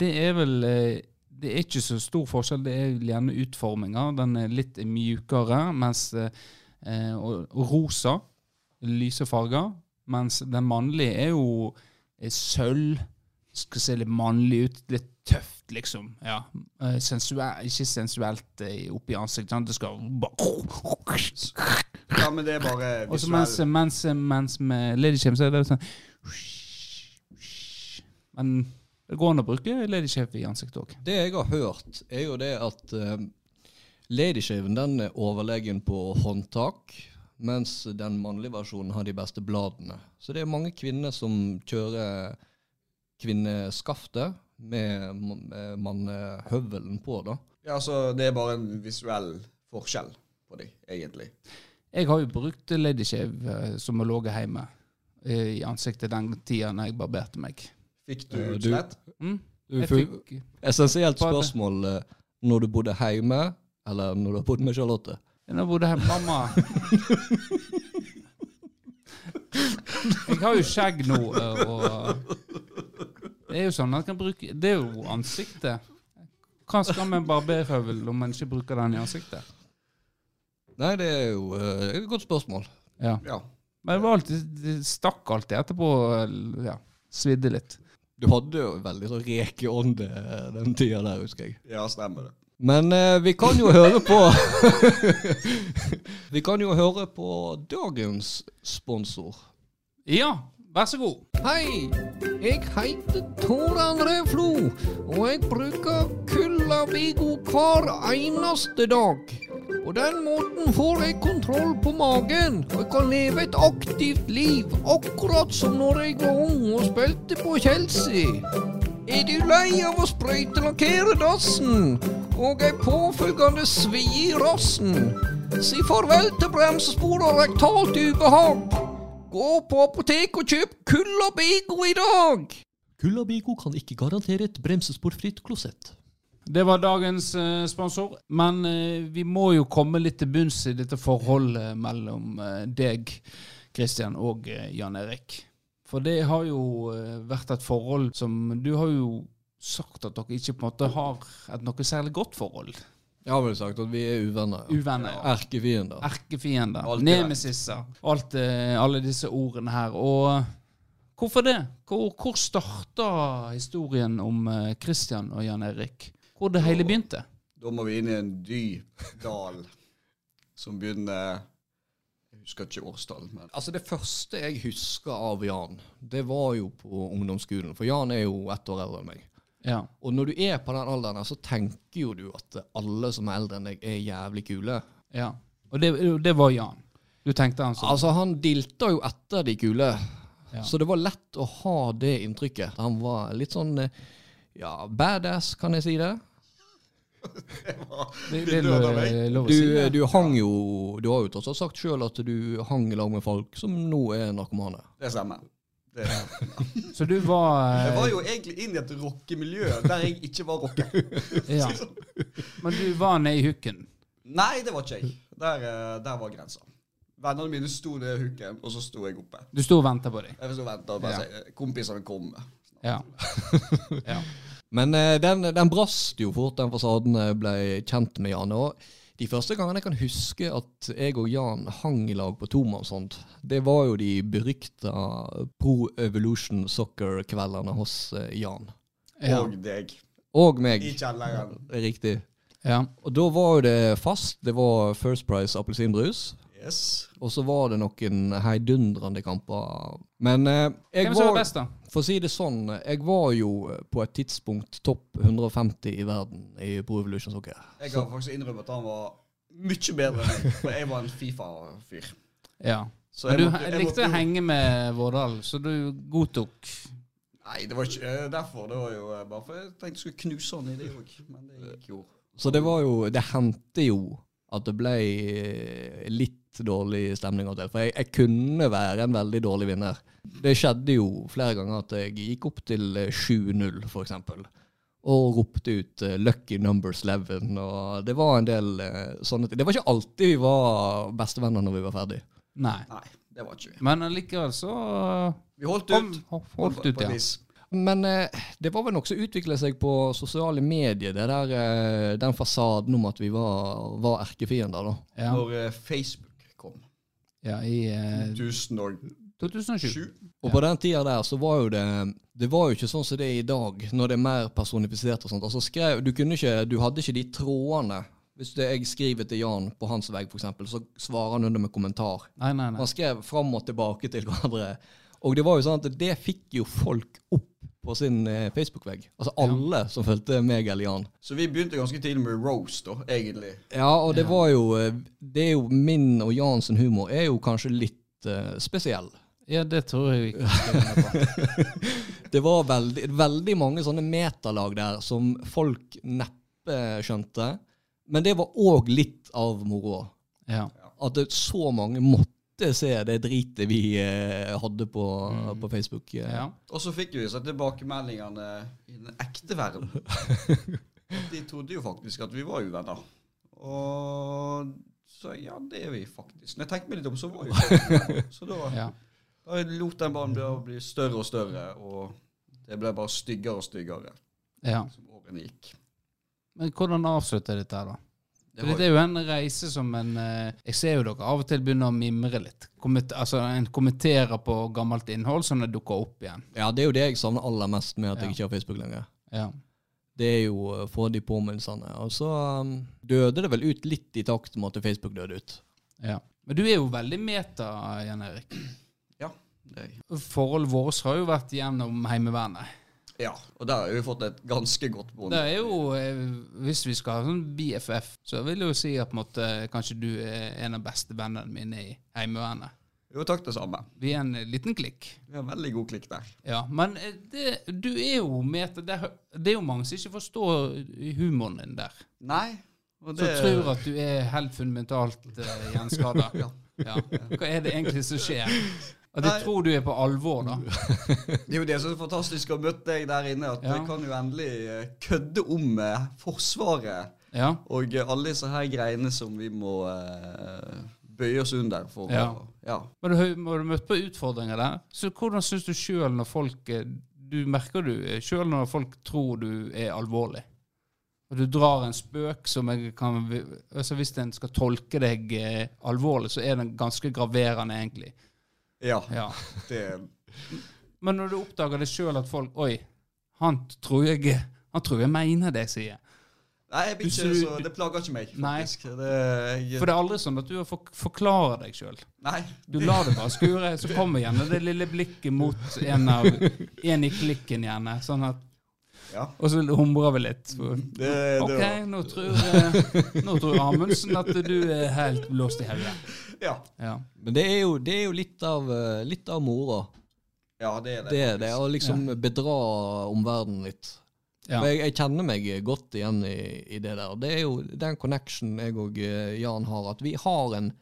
Det er vel eh, Det er ikke så stor forskjell. Det er gjerne utforminga. Den er litt mjukere, mens eh, eh, og og rosa, lyse farger. Mens den mannlige er jo eh, sølv. Skal se litt mannlig ut. Litt tøft, liksom. Ja. Eh, sensuel, ikke sensuelt eh, oppi ansiktet. sant? Det skal bare Ja, men det er bare og så mens, visuell. mens, mens med Lady Shave, så er det sånn Men det går an å bruke Lady Shave i ansiktet òg. Det jeg har hørt, er jo det at eh, Ladyshaven den er overlegen på håndtak, mens den mannlige versjonen har de beste bladene. Så det er mange kvinner som kjører kvinneskaftet med ma- eh, mannehøvelen på, da. Ja, så det er bare en visuell forskjell på de, egentlig. Jeg har jo brukt ladyshave eh, som har ligget hjemme eh, i ansiktet den tida når jeg barberte meg. Fikk du Eh, du- utslett? Mm? Du Jeg fikk Essensielt Bare- spørsmål eh, når du bodde hjemme, eller når du har bodd med Charlotte. Nå bodde jeg mamma Jeg har jo skjegg nå, eh, og Det er jo sånn at jeg kan bruke Det er jo ansiktet. Hva skal med en barberhøvel om en ikke bruker den i ansiktet? Nei, det er jo eh, et godt spørsmål. Ja. Ja. Men det var alltid, det stakk alltid etterpå. eller, Ja, svidde litt. Du hadde jo veldig sånn rekeånde eh, den tida der, husker jeg. Ja, stemmer det. Men eh, vi kan jo høre på Vi kan jo høre på dagens sponsor. Ja, vær så god. Hei, jeg heter Tor André Flo, og jeg bruker Kullavigo hver eneste dag. På den måten får jeg kontroll på magen, og jeg kan leve et aktivt liv, akkurat som når jeg var ung og spilte på Chelsea. Er du lei av å sprøytelakkere dassen, og ei påfølgende svi i rassen? Si farvel til bremsespor og rektalt ubehag. Gå på apotek og kjøp Kullabigo i dag! Kullabigo kan ikke garantere et bremsesporfritt klosett. Det var dagens eh, sponsor. Men eh, vi må jo komme litt til bunns i dette forholdet mellom eh, deg, Kristian, og eh, Jan Erik. For det har jo eh, vært et forhold som Du har jo sagt at dere ikke på en måte har et noe særlig godt forhold. Jeg har vel sagt at vi er uvenner. ja. Uvenner. Erkefiender. Erkefiender. Alt det der. Nemesisser. Alt, eh, alle disse ordene her. Og eh, hvorfor det? Hvor, hvor starta historien om eh, Christian og Jan Erik? Hvor det hele begynte? Da må vi inn i en dyp dal som begynner Jeg husker ikke årstallet, men Altså Det første jeg husker av Jan, det var jo på ungdomsskolen. For Jan er jo ett år eldre enn meg. Ja. Og når du er på den alderen, her, så tenker jo du at alle som er eldre enn deg, er jævlig kule. ja. Og det, det var Jan. Du tenkte han sånn? Altså, han dilta jo etter de kule. Ja. Så det var lett å ha det inntrykket. Han var litt sånn eh, ja, badass, kan jeg si det. Det, det er lov, eh, lov å si. Du, du hang jo Du har jo tross alt sagt sjøl at du hang i lag med folk som nå er narkomane. det stemmer. Det, Så du var, jeg eh, var jo egentlig inn i et rockemiljø der jeg ikke var rocker. eh, ja. sånn. Men du var nede i hooken. Nei, det var ikke jeg. Der, eh, der var grensa. Vennene mine sto ned i hooken, og så sto jeg oppe. Du sto og venta på dem. Jeg sto og ventet og bare ja. Kompisene kom. Ja. ja. Men eh, den, den brast jo fort, den fasaden jeg ble kjent med Jan. Og de første gangene jeg kan huske at jeg og Jan hang i lag på tomannshånd, det var jo de berykta Pro Evolution Soccer-kveldene hos eh, Jan. Ja. Og deg. Og meg. I kjelleren. Det er Riktig. ja. Og da var jo det fast. Det var First Price appelsinbrus. Yes. Og så var det noen heidundrende kamper. Men eh, jeg Hvem som var var, best, da? for å si det sånn, jeg var jo eh, på et tidspunkt topp 150 i verden i Pro Evolution Soccer. Jeg har faktisk innrømmet at han var mye bedre enn meg, for jeg var en Fifa-fyr. Ja. Så Men du måtte- he- likte måtte å jo- henge med Vårdal, så du godtok Nei, det var ikke eh, derfor. Det var jo eh, bare for jeg tenkte jeg skulle knuse han i det òg, men det gikk jo. Så det var jo Det hendte jo at det ble eh, litt dårlig stemning av og til. For jeg, jeg kunne være en veldig dårlig vinner. Det skjedde jo flere ganger at jeg gikk opp til eh, 7-0, f.eks. Og ropte ut eh, 'lucky numbers 11'. Og det var en del eh, sånne ting. Det var ikke alltid vi var bestevenner når vi var ferdig. Nei. Nei, det var ikke vi. Men allikevel så Vi holdt kom, ut. holdt på- ut, på et ja. vis. Men eh, det var vel nokså utvikla seg på sosiale medier, det der, eh, den fasaden om at vi var, var erkefiender, da. Ja, Når eh, Facebook kom. ja i eh, 2007. 2007. Og på den tida der så var jo det Det var jo ikke sånn som det er i dag, når det er mer personifisert og sånt. Altså skrev, du, kunne ikke, du hadde ikke de trådene. Hvis det jeg skriver til Jan på hans vei, f.eks., så svarer han under med kommentar. Nei, nei, nei. Man skrev fram og tilbake til hverandre. Og det var jo sånn at det fikk jo folk opp på sin eh, Facebook-vegg. Altså alle som fulgte meg eller Jan. Så vi begynte ganske tidlig med roast, da, egentlig. Ja, og det var jo eh, Det er jo min og Jans humor er jo kanskje litt eh, spesiell. Ja, det tror jeg vi ikke skal gå med på. Det var veldig, veldig mange sånne metalag der som folk neppe skjønte. Men det var òg litt av moroa. Ja. At det, så mange måtte se det dritet vi eh, hadde på, på Facebook. eh. Mm. ja. Og så fikk vi så tilbakemeldingene i den ekte verden. At De trodde jo faktisk at vi var uvenner. Og så ja, det er vi faktisk. Når jeg tenkte meg litt om, så var vi faktisk uvenner. Så da, ja. da lot den banen bli, bli større og større, og det ble bare styggere og styggere ja. som årene gikk. Men hvordan avslutter dette her, da? Det For var dette er jo en reise som en eh, Jeg ser jo dere av og til begynner å mimre litt. Komment, altså En kommenterer på gammelt innhold som det dukker opp igjen. Ja, det er jo det jeg savner aller mest med at jeg Ja. ikke har Facebook lenger. Ja. Det er jo å få de påminnelsene. Og så um, døde det vel ut litt i takt med at Facebook døde ut. ja. Men du er jo veldig meta, Jan Erik. det. Forholdet vårt har jo vært gjennom Heimevernet. Ja, og der har vi fått et ganske godt bånd. Det er jo, eh, Hvis vi skal ha sånn BFF, så vil jeg jo si at på en måte, kanskje du er en av beste vennene mine i Heimevernet. Jo, takk det samme. Vi er en liten klikk. Vi har en veldig god klikk der. Ja, Men eh, det, du er jo meta. Det, er- det er jo mange som ikke forstår humoren din der. Nei, og Som det tror at du er helt fundamentalt uh, gjenskada. Ja. ja. Hva er det egentlig som skjer? At de Nei. tror du er på alvor, da. Det er jo det som er fantastisk å møte deg der inne, at Ja. du kan jo endelig eh, kødde om eh, Forsvaret Ja. og eh, alle disse her greiene som vi må eh, bøye oss under for. Ja. å- ja. Men du har har du møtt på utfordringer der. Så hvordan syns du sjøl når folk eh, Du merker du sjøl når folk tror du er alvorlig. Og du drar en spøk som jeg kan altså Hvis en skal tolke deg eh, alvorlig, så er den ganske graverende, egentlig. ja, Ja. det Men når du oppdager det sjøl at folk Oi, han tror jeg, han tror jeg mener det jeg sier. Nei, jeg blir Du ikke, tror- så, det plager ikke meg, Nei. faktisk. Det, jeg, For det er aldri sånn at du har fork- forklarer deg sjøl. nei, Du lar det bare skure, så kommer gjerne det lille blikket mot en, av, en i klikken, gjerne. Sånn at, Ja. Og så humrer vi litt. For, det, det OK, nå tror, eh, nå tror Amundsen at du er helt blåst i hodet. Ja. Ja. Men det er jo, det er jo litt av, eh, litt av mora. ja, det er det. Det er det. Å liksom bedra omverdenen litt. Ja. For jeg, jeg kjenner meg godt igjen i, i det der. Det er jo den connection jeg og eh, Jan har, at vi har en,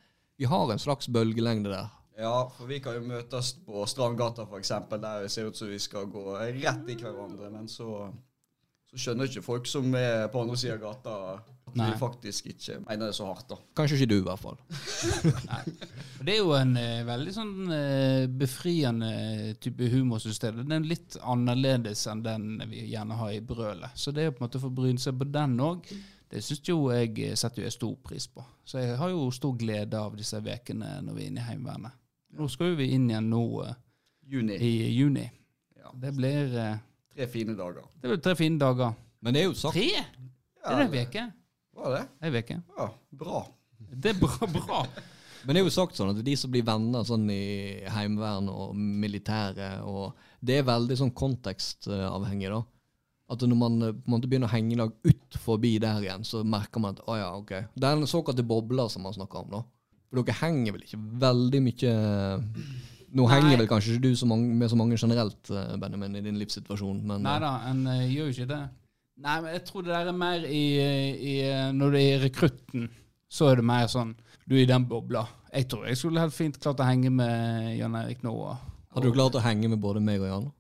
vi har en slags bølgelengde der. Ja, for vi kan jo møtes på Strandgata, for eksempel, der det ser ut som vi skal gå rett i hverandre, men så, så skjønner ikke folk som er på andre siden av gata, at Nei. vi faktisk ikke mener det så hardt, da. Kanskje ikke du, i hvert fall. Og Det er jo en eh, veldig sånn eh, befriende eh, type humorsystem. Den er litt annerledes enn den vi gjerne har i brølet. Så det er jo på en måte å få bryne seg på den òg, det syns jo jeg eh, setter jo jeg stor pris på. Så jeg har jo stor glede av disse ukene når vi er inne i Heimevernet. Nå skal jo vi inn igjen nå eh, Juni. i juni. Ja. Det blir eh, Tre fine dager. det blir tre fine dager. Men det er jo sagt Tre? Det er Ja, en uke. Var det? Ei uke. Ja, bra. Det er bra. bra. Men det er jo sagt sånn at de som blir venner sånn i heimevern og militære, og det er veldig sånn kontekstavhengig, da. At når man eh, på en måte begynner å henge i lag ut forbi der igjen, så merker man at å ja, ok. Det er den såkalte bobla som man snakker om, da. For dere henger vel ikke veldig mye Nå henger vel kanskje ikke du så mange, med så mange generelt, eh, Benjamin, i din livssituasjon, men Nei eh, da, en eh, gjør jo ikke det. Nei, men jeg tror det der er mer i, i eh, Når du er i rekrutten, så er det mer sånn Du er i den bobla. Jeg tror jeg skulle helt fint klart å henge med Jan Erik nå. og- hadde du klart å henge med både meg og Jan?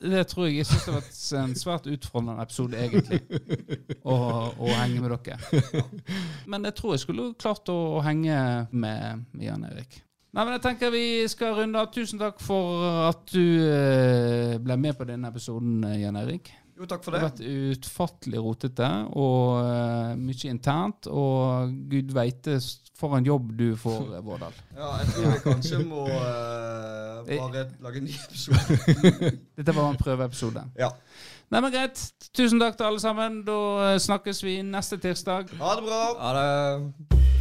Det tror jeg. Jeg syns det har vært en svært utfordrende episode, egentlig, å, å henge med dere. Men jeg tror jeg skulle klart å henge med med Jan Erik. Nei, men jeg tenker vi skal runde av. Tusen takk for at du eh, ble med på denne episoden, eh, Jan Erik. Jo, takk for Det det. har vært utfattelig rotete og eh, mye internt, og gud veite s- for en jobb du får, eh, Vårdal. Ja, jeg tror jeg kanskje må eh, bare lage en ny episode. Dette var en prøveepisode. Ja. Nei, men greit. Tusen takk til alle sammen. Da eh, snakkes vi neste tirsdag. Ha det bra. Ja, det